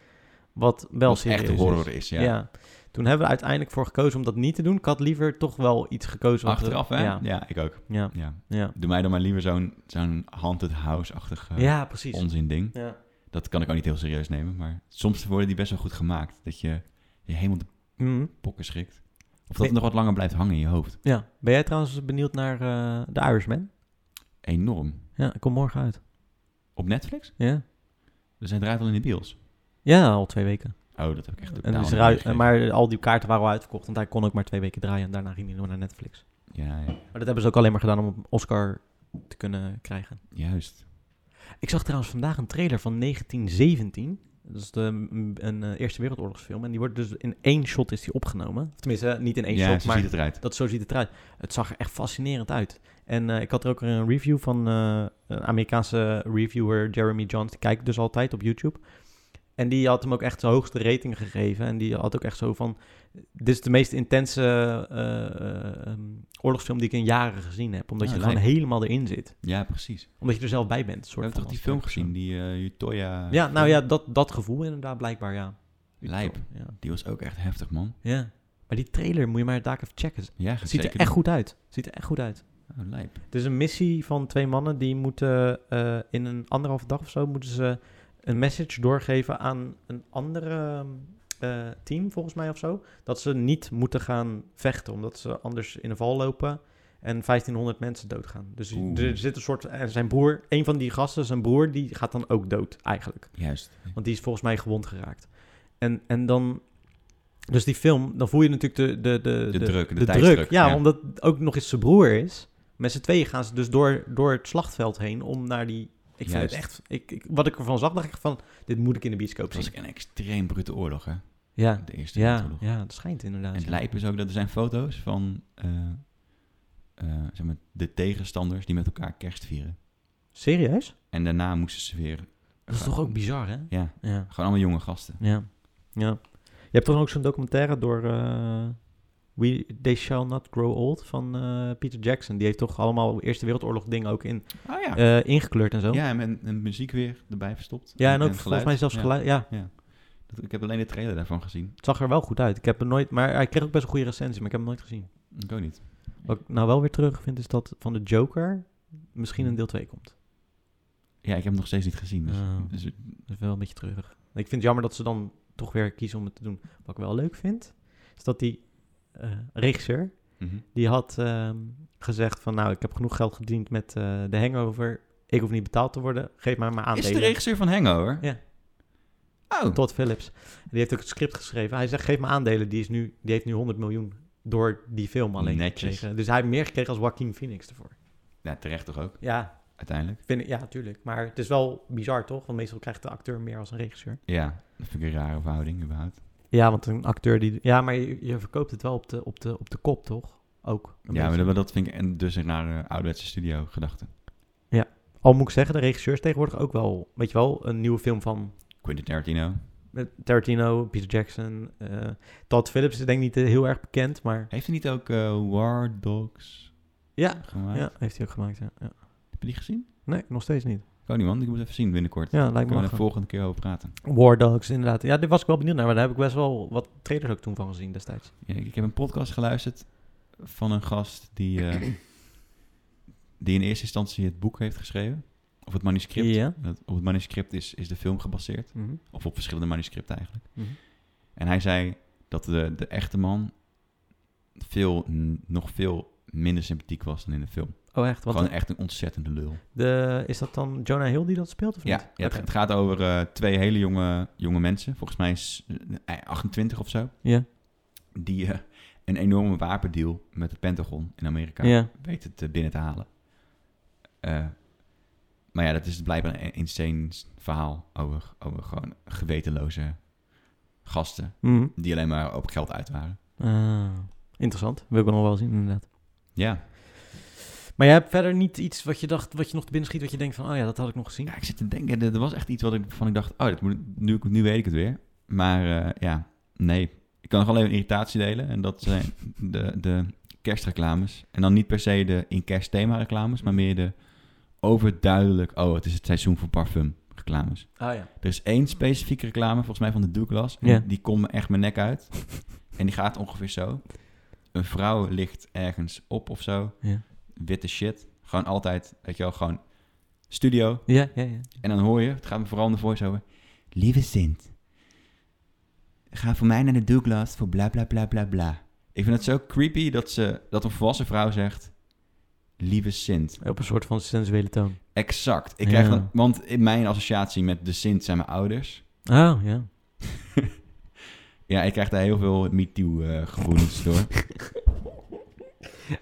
Speaker 1: wat wel
Speaker 2: Wat
Speaker 1: serieus
Speaker 2: echt horror is,
Speaker 1: Ja. Toen hebben we uiteindelijk voor gekozen om dat niet te doen. Ik had liever toch wel iets gekozen. wat we-
Speaker 2: Achteraf, hè?
Speaker 1: Ja,
Speaker 2: ja, ik ook.
Speaker 1: ja,
Speaker 2: Ja.
Speaker 1: ja.
Speaker 2: Doe mij dan maar liever zo'n zo'n haunted house-achtig eh,
Speaker 1: ja precies.
Speaker 2: onzin ding.
Speaker 1: Ja.
Speaker 2: Dat kan ik ook niet heel serieus nemen, maar soms worden die best wel goed gemaakt. Dat je je helemaal de
Speaker 1: Mhm.
Speaker 2: pokken schrikt. Of dat
Speaker 1: Nee.
Speaker 2: het nog wat langer blijft hangen in je hoofd.
Speaker 1: Ja. Ben jij trouwens benieuwd naar eh The Irishman?
Speaker 2: Enorm.
Speaker 1: Ja, ik kom morgen uit.
Speaker 2: Op Netflix?
Speaker 1: Ja,
Speaker 2: Dus hij draait al in de bios.
Speaker 1: ja al twee weken.
Speaker 2: Oh, dat heb ik echt
Speaker 1: En
Speaker 2: totaal
Speaker 1: is
Speaker 2: niet
Speaker 1: eruit,
Speaker 2: meegekregen.
Speaker 1: maar al die kaarten waren al uitverkocht, want hij kon ook maar twee weken draaien. En daarna ging hij door naar Netflix.
Speaker 2: Ja, ja,
Speaker 1: Maar dat hebben ze ook alleen maar gedaan om een Oscar te kunnen krijgen.
Speaker 2: juist.
Speaker 1: Ik zag trouwens vandaag een trailer van 1917. Dat is de, een, eh, Eerste Wereldoorlogsfilm. En die wordt dus in één shot is die opgenomen. Of tenminste, eh, niet in één
Speaker 2: Ja,
Speaker 1: shot,
Speaker 2: zo
Speaker 1: maar
Speaker 2: ziet het eruit.
Speaker 1: Dat, zo ziet het eruit. Het zag er echt fascinerend uit. En eh, ik had er ook een review van eh, een Amerikaanse reviewer, Jeremy Johns. Die kijkt dus altijd op YouTube. En die had hem ook echt zijn hoogste rating gegeven. En die had ook echt zo van... Dit is de meest intense eh, eh, oorlogsfilm die ik in jaren gezien heb. Omdat
Speaker 2: Ja,
Speaker 1: je er gewoon
Speaker 2: lijp.
Speaker 1: helemaal erin zit.
Speaker 2: Ja, precies. We
Speaker 1: Omdat je er zelf bij bent. Soort
Speaker 2: hebben
Speaker 1: van,
Speaker 2: toch die
Speaker 1: als
Speaker 2: film
Speaker 1: kijker.
Speaker 2: gezien, die eh Utoya...
Speaker 1: Ja, nou ja, dat, dat gevoel inderdaad blijkbaar, ja.
Speaker 2: Lijp.
Speaker 1: Ja.
Speaker 2: Die was ook echt heftig, man.
Speaker 1: ja. Maar die trailer moet je maar daar even checken.
Speaker 2: Ja, gaat
Speaker 1: Het ziet er
Speaker 2: zeker
Speaker 1: echt goed uit. Het ziet er echt goed uit.
Speaker 2: doen. Oh, lijp.
Speaker 1: Het is een missie van twee mannen die moeten eh, in een anderhalf dag of zo moeten ze een message doorgeven aan een andere eh, team, volgens mij of zo. Dat ze niet moeten gaan vechten, omdat ze anders in de val lopen en 1500 mensen doodgaan. Dus
Speaker 2: Oeh.
Speaker 1: er zit een soort. En zijn broer, een van die gasten, zijn broer, die gaat dan ook dood eigenlijk.
Speaker 2: Juist.
Speaker 1: Want die is volgens mij gewond geraakt. En, en dan... Dus die film, dan voel je natuurlijk de... De, de,
Speaker 2: De druk, de tijdsdruk,
Speaker 1: Ja,
Speaker 2: ja.
Speaker 1: omdat het ook nog eens zijn broer is. Met z'n tweeën gaan ze dus door, door het slachtveld heen om naar die... Ik vind het
Speaker 2: Juist.
Speaker 1: echt... Ik, ik- wat ik ervan zag, dacht ik van... Dit moet ik in de bioscoop
Speaker 2: Het was
Speaker 1: zien.
Speaker 2: ook een extreem brute oorlog, hè?
Speaker 1: Ja,
Speaker 2: De Eerste
Speaker 1: ja,
Speaker 2: Wereldoorlog.
Speaker 1: ja, dat schijnt inderdaad.
Speaker 2: En het
Speaker 1: ja.
Speaker 2: lijp is ook dat er zijn foto's van eh, eh, zeg maar, de tegenstanders die met elkaar kerst vieren.
Speaker 1: Serieus?
Speaker 2: En daarna moesten ze weer...
Speaker 1: Dat is toch ook bizar, hè?
Speaker 2: Ja,
Speaker 1: Ja,
Speaker 2: gewoon allemaal jonge gasten.
Speaker 1: ja, ja. Je hebt toch ook zo'n documentaire door... eh, We, They Shall Not Grow Old van eh, Peter Jackson. Die heeft toch allemaal Eerste Wereldoorlog dingen ook in
Speaker 2: Oh ja.
Speaker 1: eh, ingekleurd en zo.
Speaker 2: ja, en, en, muziek weer erbij verstopt.
Speaker 1: Ja, en ook
Speaker 2: geluid.
Speaker 1: volgens mij zelfs
Speaker 2: Ja.
Speaker 1: geluid. Ja,
Speaker 2: Dat- Ik heb alleen de trailer daarvan gezien.
Speaker 1: het zag er wel goed uit. Ik heb hem nooit, maar hij kreeg ook best een goede recensie, maar ik heb hem nooit gezien.
Speaker 2: Ik ook niet.
Speaker 1: Wat ik nou wel weer terug vind, is dat van de Joker misschien een deel 2 komt.
Speaker 2: Ja, ik heb hem nog steeds niet gezien. Dus,
Speaker 1: Oh.
Speaker 2: dus-
Speaker 1: Dat is wel een beetje treurig. Ik vind het jammer dat ze dan toch weer kiezen om het te doen. Wat ik wel leuk vind, is dat die eh, regisseur,
Speaker 2: mhm.
Speaker 1: die had ehm, gezegd van... nou, ik heb genoeg geld gediend met eh, de hangover. Ik hoef niet betaald te worden. Geef maar mijn
Speaker 2: Is
Speaker 1: aandelen.
Speaker 2: het de regisseur van Hangover?
Speaker 1: Ja.
Speaker 2: Oh,
Speaker 1: Todd Phillips. Die heeft ook het script geschreven. Hij zegt, geef me aandelen. Die, is nu, die heeft nu 100 miljoen door die film alleen
Speaker 2: Netjes.
Speaker 1: gekregen. Dus hij heeft meer gekregen als Joaquin Phoenix ervoor.
Speaker 2: ja, terecht toch ook,
Speaker 1: Ja,
Speaker 2: uiteindelijk.
Speaker 1: vind ik, ja, natuurlijk. Maar het is wel bizar, toch? Want meestal krijgt de acteur meer als een regisseur.
Speaker 2: Ja, dat vind ik een rare verhouding überhaupt.
Speaker 1: Ja, want een acteur die... Ja, maar je, je verkoopt het wel op de, op de, op de kop, toch? Ook. een
Speaker 2: Ja, maar
Speaker 1: beetje.
Speaker 2: dat, dat vind ik en dus een rare ouderwetse studio gedachte.
Speaker 1: Al moet ik zeggen, de regisseurs tegenwoordig ook wel... Weet je wel, een nieuwe film van
Speaker 2: Quentin Tarantino.
Speaker 1: eh, Tarantino, Peter Jackson... eh, Todd Phillips is denk ik niet eh, heel erg bekend, maar...
Speaker 2: Heeft hij niet ook eh, War Dogs
Speaker 1: Ja,
Speaker 2: gemaakt?
Speaker 1: ja, heeft hij ook gemaakt, ja. ja.
Speaker 2: Heb je die gezien?
Speaker 1: Nee, nog steeds niet.
Speaker 2: Ik ook niet, man. Ik moet even zien binnenkort.
Speaker 1: Ja, lijkt me
Speaker 2: Kunnen we
Speaker 1: lachen.
Speaker 2: de volgende keer over praten.
Speaker 1: War Dogs, inderdaad. Ja, daar was ik wel benieuwd naar, maar daar heb ik best wel wat trailers ook toen van gezien destijds.
Speaker 2: Ja, ik, ik heb een podcast geluisterd van een gast die,
Speaker 1: (clears throat)
Speaker 2: eh, die in eerste instantie het boek heeft geschreven. Of het manuscript.
Speaker 1: Ja.
Speaker 2: Dat- op het manuscript is, is de film gebaseerd.
Speaker 1: Mhm.
Speaker 2: Of op verschillende manuscripten eigenlijk. En hij zei dat de, de echte man veel, n- nog veel minder sympathiek was dan in de film.
Speaker 1: Oh, echt? Want
Speaker 2: Gewoon echt een ontzettende lul.
Speaker 1: de, is dat dan Jonah Hill die dat speelt of
Speaker 2: Ja,
Speaker 1: niet?
Speaker 2: ja, het,
Speaker 1: Oké.
Speaker 2: het gaat over eh, twee hele jonge, jonge mensen. Volgens mij is eh, 28 of zo.
Speaker 1: Ja.
Speaker 2: Die eh, een enorme wapendeal met het Pentagon in Amerika
Speaker 1: Ja.
Speaker 2: weten te binnen te halen. Eh, maar ja, dat is blijkbaar een insane verhaal over, over gewoon gewetenloze gasten.
Speaker 1: Mhm.
Speaker 2: Die alleen maar op geld uit waren.
Speaker 1: Ah, interessant. Wil ik wel nog wel zien, inderdaad.
Speaker 2: Ja.
Speaker 1: Maar jij hebt verder niet iets wat je dacht, wat je nog te binnen schiet, wat je denkt van, oh ja, dat had ik nog gezien.
Speaker 2: ja, ik zit te denken. Er er was echt iets wat ik, van ik dacht, oh, dat moet, nu, nu weet ik het weer. Maar eh, ja, nee. Ik kan nog alleen een irritatie delen. En dat zijn (laughs) de, de kerstreclames. En dan niet per se de in kerstthema reclames, maar meer de overduidelijk, oh, het is het seizoen voor parfum reclames.
Speaker 1: Oh ja.
Speaker 2: Er is één specifieke reclame, volgens mij van de Douglas. En
Speaker 1: Ja.
Speaker 2: Die komt me echt mijn nek
Speaker 1: (laughs)
Speaker 2: uit. en die gaat ongeveer zo. Een vrouw ligt ergens op of zo.
Speaker 1: Ja.
Speaker 2: Witte shit. Gewoon altijd, weet je wel, gewoon studio.
Speaker 1: Ja, ja, ja.
Speaker 2: En dan hoor je, het gaat me vooral om de voice-over. Lieve Sint, ga voor mij naar de Douglas voor bla bla bla bla bla. Ik vind het zo creepy dat, ze, dat een volwassen vrouw zegt... Lieve Sint.
Speaker 1: Op een soort van sensuele toon.
Speaker 2: Exact. Ik
Speaker 1: Ja.
Speaker 2: krijg dan, want in mijn associatie met de Sint zijn mijn ouders.
Speaker 1: Oh, ja.
Speaker 2: Ja, ik krijg daar heel veel MeToo-gevoelens door.
Speaker 1: (laughs)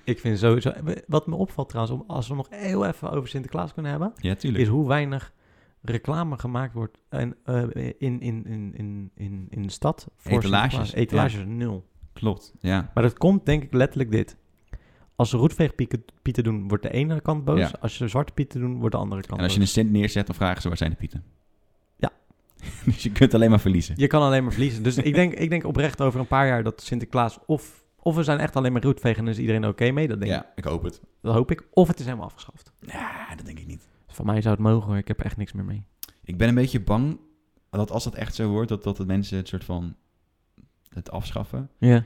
Speaker 1: Ik vind sowieso... Wat me opvalt trouwens, om, als we nog heel even over Sinterklaas kunnen hebben...
Speaker 2: Ja, tuurlijk.
Speaker 1: is hoe weinig reclame gemaakt wordt en, eh, in, in, in, in, in, in de stad. Voor
Speaker 2: Etalages.
Speaker 1: Sinterklaas. Etalages nul.
Speaker 2: Klopt, ja.
Speaker 1: Maar dat komt denk ik letterlijk dit. Als ze roetveegpieten doen, wordt de ene kant boos.
Speaker 2: Ja.
Speaker 1: Als ze zwarte pieten doen, wordt de andere kant
Speaker 2: En als je
Speaker 1: boos.
Speaker 2: een Sint neerzet, dan vragen ze waar zijn de pieten. (laughs) Dus je kunt alleen maar verliezen.
Speaker 1: Je kan alleen maar verliezen. Dus ik denk, ik denk oprecht over een paar jaar dat Sinterklaas of... Of we zijn echt alleen maar roetvegen en is iedereen oké mee. Dat, denk ik.
Speaker 2: Ja, ik hoop het.
Speaker 1: dat hoop ik. Of het is helemaal afgeschaft.
Speaker 2: Ja, dat denk ik niet.
Speaker 1: Dus Van mij zou het mogen hoor. Ik heb er echt niks meer mee.
Speaker 2: Ik ben een beetje bang dat als dat echt zo wordt, dat, dat de mensen het soort van het afschaffen,
Speaker 1: Ja.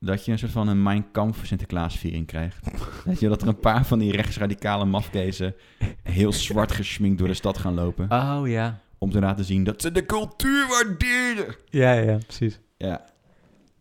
Speaker 2: dat je een soort van een Mein Kampf Sinterklaasviering (laughs) krijgt. Weet je, dat er een paar van die rechtsradicale mafkezen heel (laughs) zwart gesminkt door de stad gaan lopen,
Speaker 1: Oh ja.
Speaker 2: om te laten zien dat ze de cultuur waarderen.
Speaker 1: Ja, ja, precies.
Speaker 2: Ja,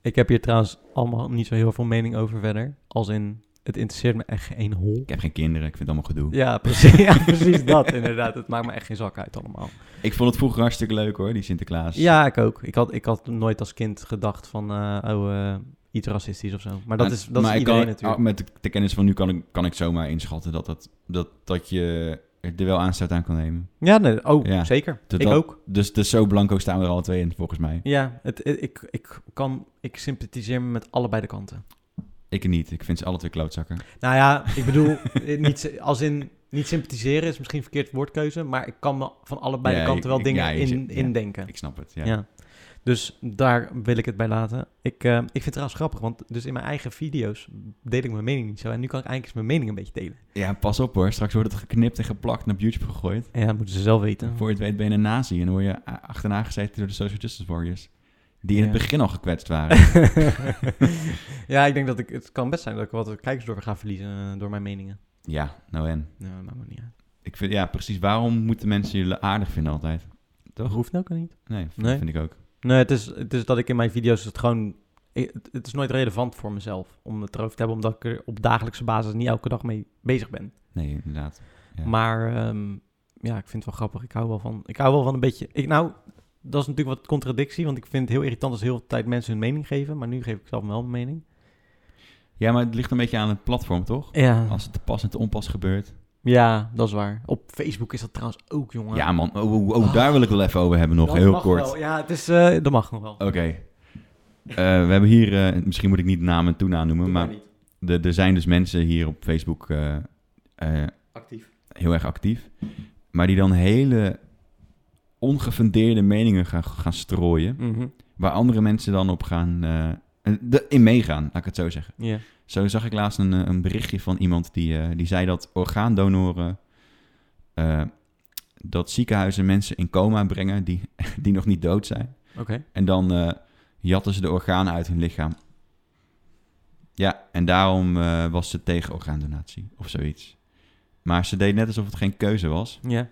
Speaker 1: Ik heb hier trouwens allemaal niet zo heel veel mening over verder. Als in, het interesseert me echt geen hol.
Speaker 2: ik heb geen kinderen, ik vind het allemaal gedoe.
Speaker 1: Ja, precies, (laughs) ja, precies dat inderdaad. Het maakt me echt geen zak uit allemaal.
Speaker 2: Ik vond het vroeger hartstikke leuk hoor, die Sinterklaas.
Speaker 1: Ja, ik ook. Ik had, ik had nooit als kind gedacht van, eh, oh, eh, iets racistisch of zo. Maar oh. dat is, dat
Speaker 2: maar
Speaker 1: is
Speaker 2: ik
Speaker 1: iedereen
Speaker 2: kan-
Speaker 1: natuurlijk.
Speaker 2: ah, Met de, de kennis van nu kan ik, kan ik zomaar inschatten dat, dat, dat, dat je er wel aanstoot aan kan nemen.
Speaker 1: Ja, nee, oh,
Speaker 2: Ja.
Speaker 1: zeker.
Speaker 2: Dat-
Speaker 1: ik
Speaker 2: dat-
Speaker 1: ook.
Speaker 2: Dus, dus zo blanco staan we er alle twee in, volgens mij.
Speaker 1: Ja, het, het- ik, ik, kan, ik sympathiseer me met allebei de kanten.
Speaker 2: Ik niet. Ik vind ze alle twee klootzakken.
Speaker 1: Nou ja, ik bedoel, eh, niet, als in, niet sympathiseren is misschien verkeerd woordkeuze, maar ik kan me van allebei
Speaker 2: Ja,
Speaker 1: de kanten wel
Speaker 2: ik-
Speaker 1: dingen
Speaker 2: ja, je
Speaker 1: in,
Speaker 2: zit- ja.
Speaker 1: indenken.
Speaker 2: Ik snap het, ja.
Speaker 1: Ja. Dus daar wil ik het bij laten. Ik, eh, ik vind het trouwens grappig, want dus in mijn eigen video's deel ik mijn mening niet zo. En nu kan ik eigenlijk eens mijn mening een beetje delen.
Speaker 2: Ja, pas op hoor. Straks wordt het geknipt en geplakt en op YouTube gegooid.
Speaker 1: Ja, dat moeten ze zelf weten.
Speaker 2: Voor je het weet ben je een nazi en dan word je a- achterna gezeten door de social justice warriors. Die in
Speaker 1: Ja.
Speaker 2: het begin al gekwetst
Speaker 1: (laughs)
Speaker 2: waren.
Speaker 1: (laughs) ja, ik denk dat ik... Het kan best zijn dat ik wat kijkers door ga verliezen eh, door mijn meningen.
Speaker 2: ja, nou en.
Speaker 1: Nou, dat maakt me niet uit.
Speaker 2: Ik vind, ja, precies. Waarom moeten mensen jullie aardig vinden altijd?
Speaker 1: Dat hoeft ook niet.
Speaker 2: Nee, v-
Speaker 1: Nee.
Speaker 2: vind ik ook.
Speaker 1: Nee, het is, het is dat ik in mijn video's het gewoon... ik- Het, het is nooit relevant voor mezelf om het erover te hebben, omdat ik er op dagelijkse basis niet elke dag mee bezig ben.
Speaker 2: Nee, inderdaad. Ja.
Speaker 1: Maar ehm, ja, ik vind het wel grappig. Ik hou wel van, ik hou wel van een beetje. Ik, nou, dat is natuurlijk wat contradictie, want ik vind het heel irritant als heel veel tijd mensen hun mening geven. Maar nu geef ik zelf wel mijn mening.
Speaker 2: Ja, maar het ligt een beetje aan het platform, toch?
Speaker 1: Ja,
Speaker 2: Als het te pas en te onpas gebeurt.
Speaker 1: ja dat is waar. Op Facebook is dat trouwens ook, jongen.
Speaker 2: Ja, man. Oh, oh, oh, daar wil ik wel even over hebben nog,
Speaker 1: Dat
Speaker 2: heel
Speaker 1: mag
Speaker 2: kort.
Speaker 1: wel. Ja, het is, eh, dat mag nog wel.
Speaker 2: Oké. Eh, we hebben hier, eh, misschien moet ik niet namen en toenaam noemen,
Speaker 1: Doe
Speaker 2: maar
Speaker 1: maar niet.
Speaker 2: de- er zijn dus mensen hier op Facebook eh, eh,
Speaker 1: Actief.
Speaker 2: heel erg actief, maar die dan hele ongefundeerde meningen gaan, gaan strooien,
Speaker 1: Mhm.
Speaker 2: waar andere mensen dan op gaan, eh, de- in meegaan, laat ik het zo zeggen.
Speaker 1: Ja.
Speaker 2: Zo zag ik laatst een, eh, een berichtje van iemand die, eh, die zei dat orgaandonoren, eh, dat ziekenhuizen mensen in coma brengen die, (laughs) die nog niet dood zijn.
Speaker 1: Oké.
Speaker 2: En dan eh, jatten ze de organen uit hun lichaam. Ja, en daarom eh, was ze tegen orgaandonatie of zoiets. Maar ze deed net alsof het geen keuze was.
Speaker 1: Ja.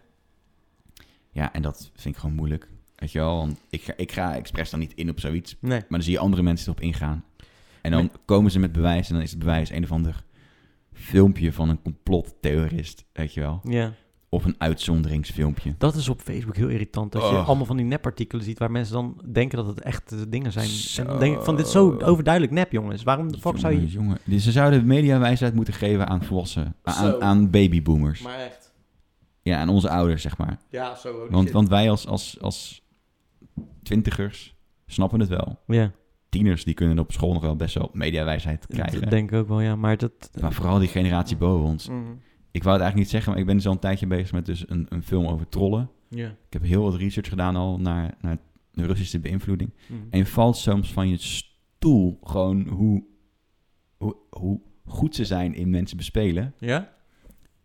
Speaker 2: Ja, en dat vind ik gewoon moeilijk. Weet je wel, want ik ga, ik ga expres dan niet in op zoiets.
Speaker 1: Nee.
Speaker 2: Maar dan zie je andere mensen erop ingaan. En dan komen ze met bewijs en dan is het bewijs een of ander filmpje van een complottheorist, weet je wel.
Speaker 1: Ja.
Speaker 2: Of een uitzonderingsfilmpje.
Speaker 1: Dat is op Facebook heel irritant. Als je
Speaker 2: Oh.
Speaker 1: allemaal van die nepartikelen ziet waar mensen dan denken dat het echte dingen zijn. En dan denk ik van dit is
Speaker 2: Zo.
Speaker 1: zo overduidelijk nep, jongens. Waarom de fuck zou je...
Speaker 2: Jongen, jongen. Dus Ze zouden mediawijsheid moeten geven aan volwassenen, aan, aan babyboomers.
Speaker 1: Maar echt.
Speaker 2: Ja, aan onze ouders, zeg maar.
Speaker 1: Ja, zo.
Speaker 2: Want, want wij als, als, als twintigers snappen het wel.
Speaker 1: Ja.
Speaker 2: Tieners die kunnen op school nog wel best wel mediawijsheid
Speaker 1: Dat
Speaker 2: krijgen.
Speaker 1: denk ik ook wel, ja. Maar dat...
Speaker 2: Maar vooral die generatie boven ons.
Speaker 1: Mhm.
Speaker 2: Ik wou het eigenlijk niet zeggen, maar ik ben dus al een tijdje bezig met dus een, een film over trollen.
Speaker 1: Ja.
Speaker 2: Ik heb heel wat research gedaan al naar, naar de Russische beïnvloeding.
Speaker 1: Mhm.
Speaker 2: En je valt soms van je stoel gewoon hoe, hoe, hoe goed ze zijn in mensen bespelen.
Speaker 1: Ja?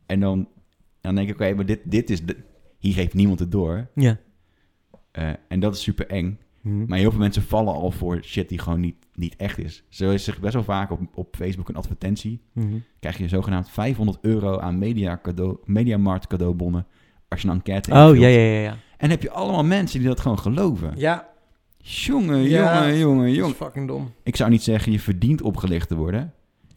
Speaker 2: En dan, dan denk ik, oké, maar dit, dit is... De, hier geeft niemand het door.
Speaker 1: Ja. Mhm.
Speaker 2: Eh, en dat is super eng. Mhm. Maar heel veel mensen vallen al voor shit die gewoon niet, niet echt is. Zo is er best wel vaak op, op Facebook een advertentie.
Speaker 1: Mhm.
Speaker 2: Krijg je zogenaamd 500 euro aan media cadeau, Mediamarkt cadeaubonnen als je een enquête
Speaker 1: Oh,
Speaker 2: invult.
Speaker 1: ja, ja, ja, ja.
Speaker 2: En heb je allemaal mensen die dat gewoon geloven.
Speaker 1: Ja,
Speaker 2: Jongen,
Speaker 1: Ja.
Speaker 2: jongen, jongen, jongen.
Speaker 1: fucking dom.
Speaker 2: Dus Ik zou niet zeggen je verdient opgelicht te worden.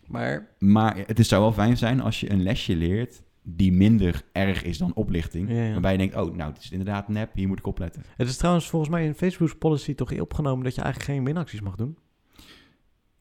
Speaker 1: Maar...
Speaker 2: Maar het is, zou wel fijn zijn als je een lesje leert die minder erg is dan oplichting.
Speaker 1: Ja, ja.
Speaker 2: Waarbij je denkt, oh, nou, het is inderdaad nep, hier moet ik opletten.
Speaker 1: Het is trouwens volgens mij in Facebook's policy toch opgenomen dat je eigenlijk geen winacties mag doen.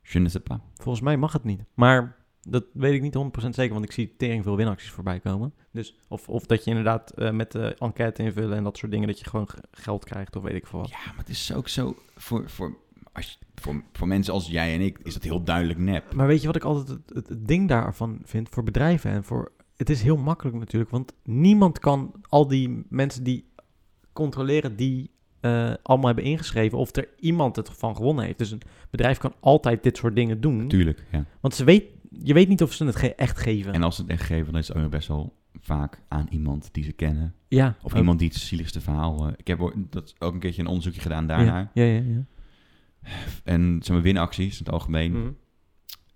Speaker 2: Je ne sais pas.
Speaker 1: Volgens mij mag het niet. Maar dat weet ik niet 100% zeker, want ik zie tering veel winacties voorbij komen. Dus of, of dat je inderdaad eh, met de enquête invullen en dat soort dingen, dat je gewoon g- geld krijgt of weet ik veel wat.
Speaker 2: Ja, maar het is ook zo voor, voor, als, voor, voor mensen als jij en ik is dat heel duidelijk nep.
Speaker 1: Maar weet je wat ik altijd het, het- het ding daarvan vind voor bedrijven en voor. Het is heel makkelijk natuurlijk, want niemand kan al die mensen die controleren die eh, allemaal hebben ingeschreven of er iemand het van gewonnen heeft. Dus een bedrijf kan altijd dit soort dingen doen.
Speaker 2: Tuurlijk, ja.
Speaker 1: Want ze weet, je weet niet of ze het ge- echt geven.
Speaker 2: En als ze het echt geven, dan is het ook nog best wel vaak aan iemand die ze kennen.
Speaker 1: ja,
Speaker 2: Of
Speaker 1: ook.
Speaker 2: iemand die het zieligste verhaal... eh, ik heb ooit- dat ook een keertje een onderzoekje gedaan daarnaar.
Speaker 1: Ja, ja, ja. ja.
Speaker 2: En zeg maar, winacties in het algemeen.
Speaker 1: Mhm.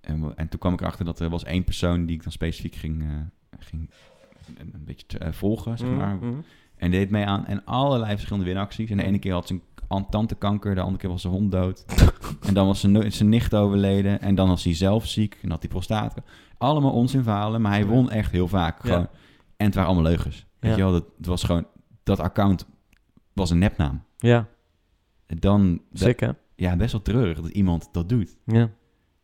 Speaker 2: En, we- en toen kwam ik erachter dat er was één persoon die ik dan specifiek ging, eh, ging een, een beetje te- eh, volgen, zeg maar.
Speaker 1: Mhm.
Speaker 2: En deed mee aan en allerlei verschillende winacties. En de ene keer had ze een tantekanker, de andere keer was zijn
Speaker 1: (laughs)
Speaker 2: hond dood. en dan was zijn, no- zijn nicht overleden. En dan was hij zelf ziek en had hij prostaat. Allemaal onzinverhalen, maar hij won echt heel vaak.
Speaker 1: Ja.
Speaker 2: Gewoon. En het waren allemaal leugens. Weet
Speaker 1: Ja.
Speaker 2: je wel, dat, het was gewoon, dat account was een nepnaam.
Speaker 1: Ja,
Speaker 2: En dan, dat-
Speaker 1: sick hè?
Speaker 2: ja, best wel treurig dat iemand dat doet.
Speaker 1: Ja.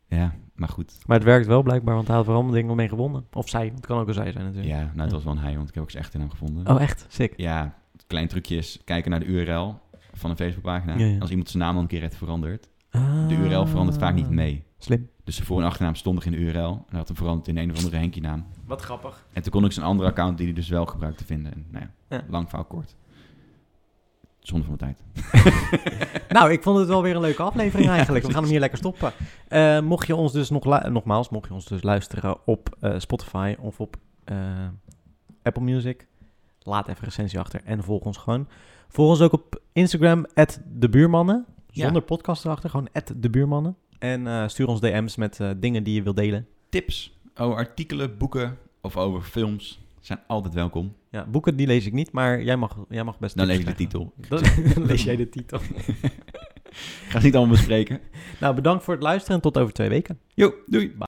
Speaker 2: Ja, maar goed.
Speaker 1: Maar het werkt wel blijkbaar, want hij had vooral dingen mee gewonnen. Of zij, want het kan ook een zij zijn natuurlijk.
Speaker 2: Ja, nou, het was wel een hij, want ik heb ook zijn echte naam gevonden.
Speaker 1: Oh, echt? Sick.
Speaker 2: Ja, het klein trucje is kijken naar de URL van een Facebookpagina.
Speaker 1: Ja, ja.
Speaker 2: Als iemand zijn naam al een keer heeft veranderd, de
Speaker 1: Ah.
Speaker 2: URL verandert vaak niet mee.
Speaker 1: Slim.
Speaker 2: Dus de voor- en achternaam stonden in de URL. En hij had hem veranderd in een of andere Henkie naam.
Speaker 1: Wat grappig.
Speaker 2: En toen kon ik zijn andere account, die hij dus wel gebruikte, vinden. En, nou ja,
Speaker 1: Ja.
Speaker 2: lang verhaal kort. Zonde van de tijd.
Speaker 1: Nou, ik vond het wel weer een leuke
Speaker 2: (laughs)
Speaker 1: aflevering eigenlijk. We gaan hem hier lekker stoppen. Eh, mocht je ons dus nog lu- nogmaals, mocht je ons dus luisteren op eh, Spotify of op eh, Apple Music, laat even een recensie achter en volg ons gewoon. Volg ons ook op Instagram, de buurmannen. Zonder podcast erachter, gewoon de buurmannen. En eh, stuur ons DM's met eh, dingen die je wilt delen.
Speaker 2: Tips over artikelen, boeken of over films zijn altijd welkom.
Speaker 1: Ja, boeken die lees ik niet, maar jij mag, jij mag best
Speaker 2: Dan lees
Speaker 1: tips
Speaker 2: ik de titel.
Speaker 1: zeggen.
Speaker 2: (laughs)
Speaker 1: Dan lees jij de titel.
Speaker 2: Ik ga ze niet allemaal bespreken.
Speaker 1: Nou, bedankt voor het luisteren en tot over twee weken.
Speaker 2: Jo, doei.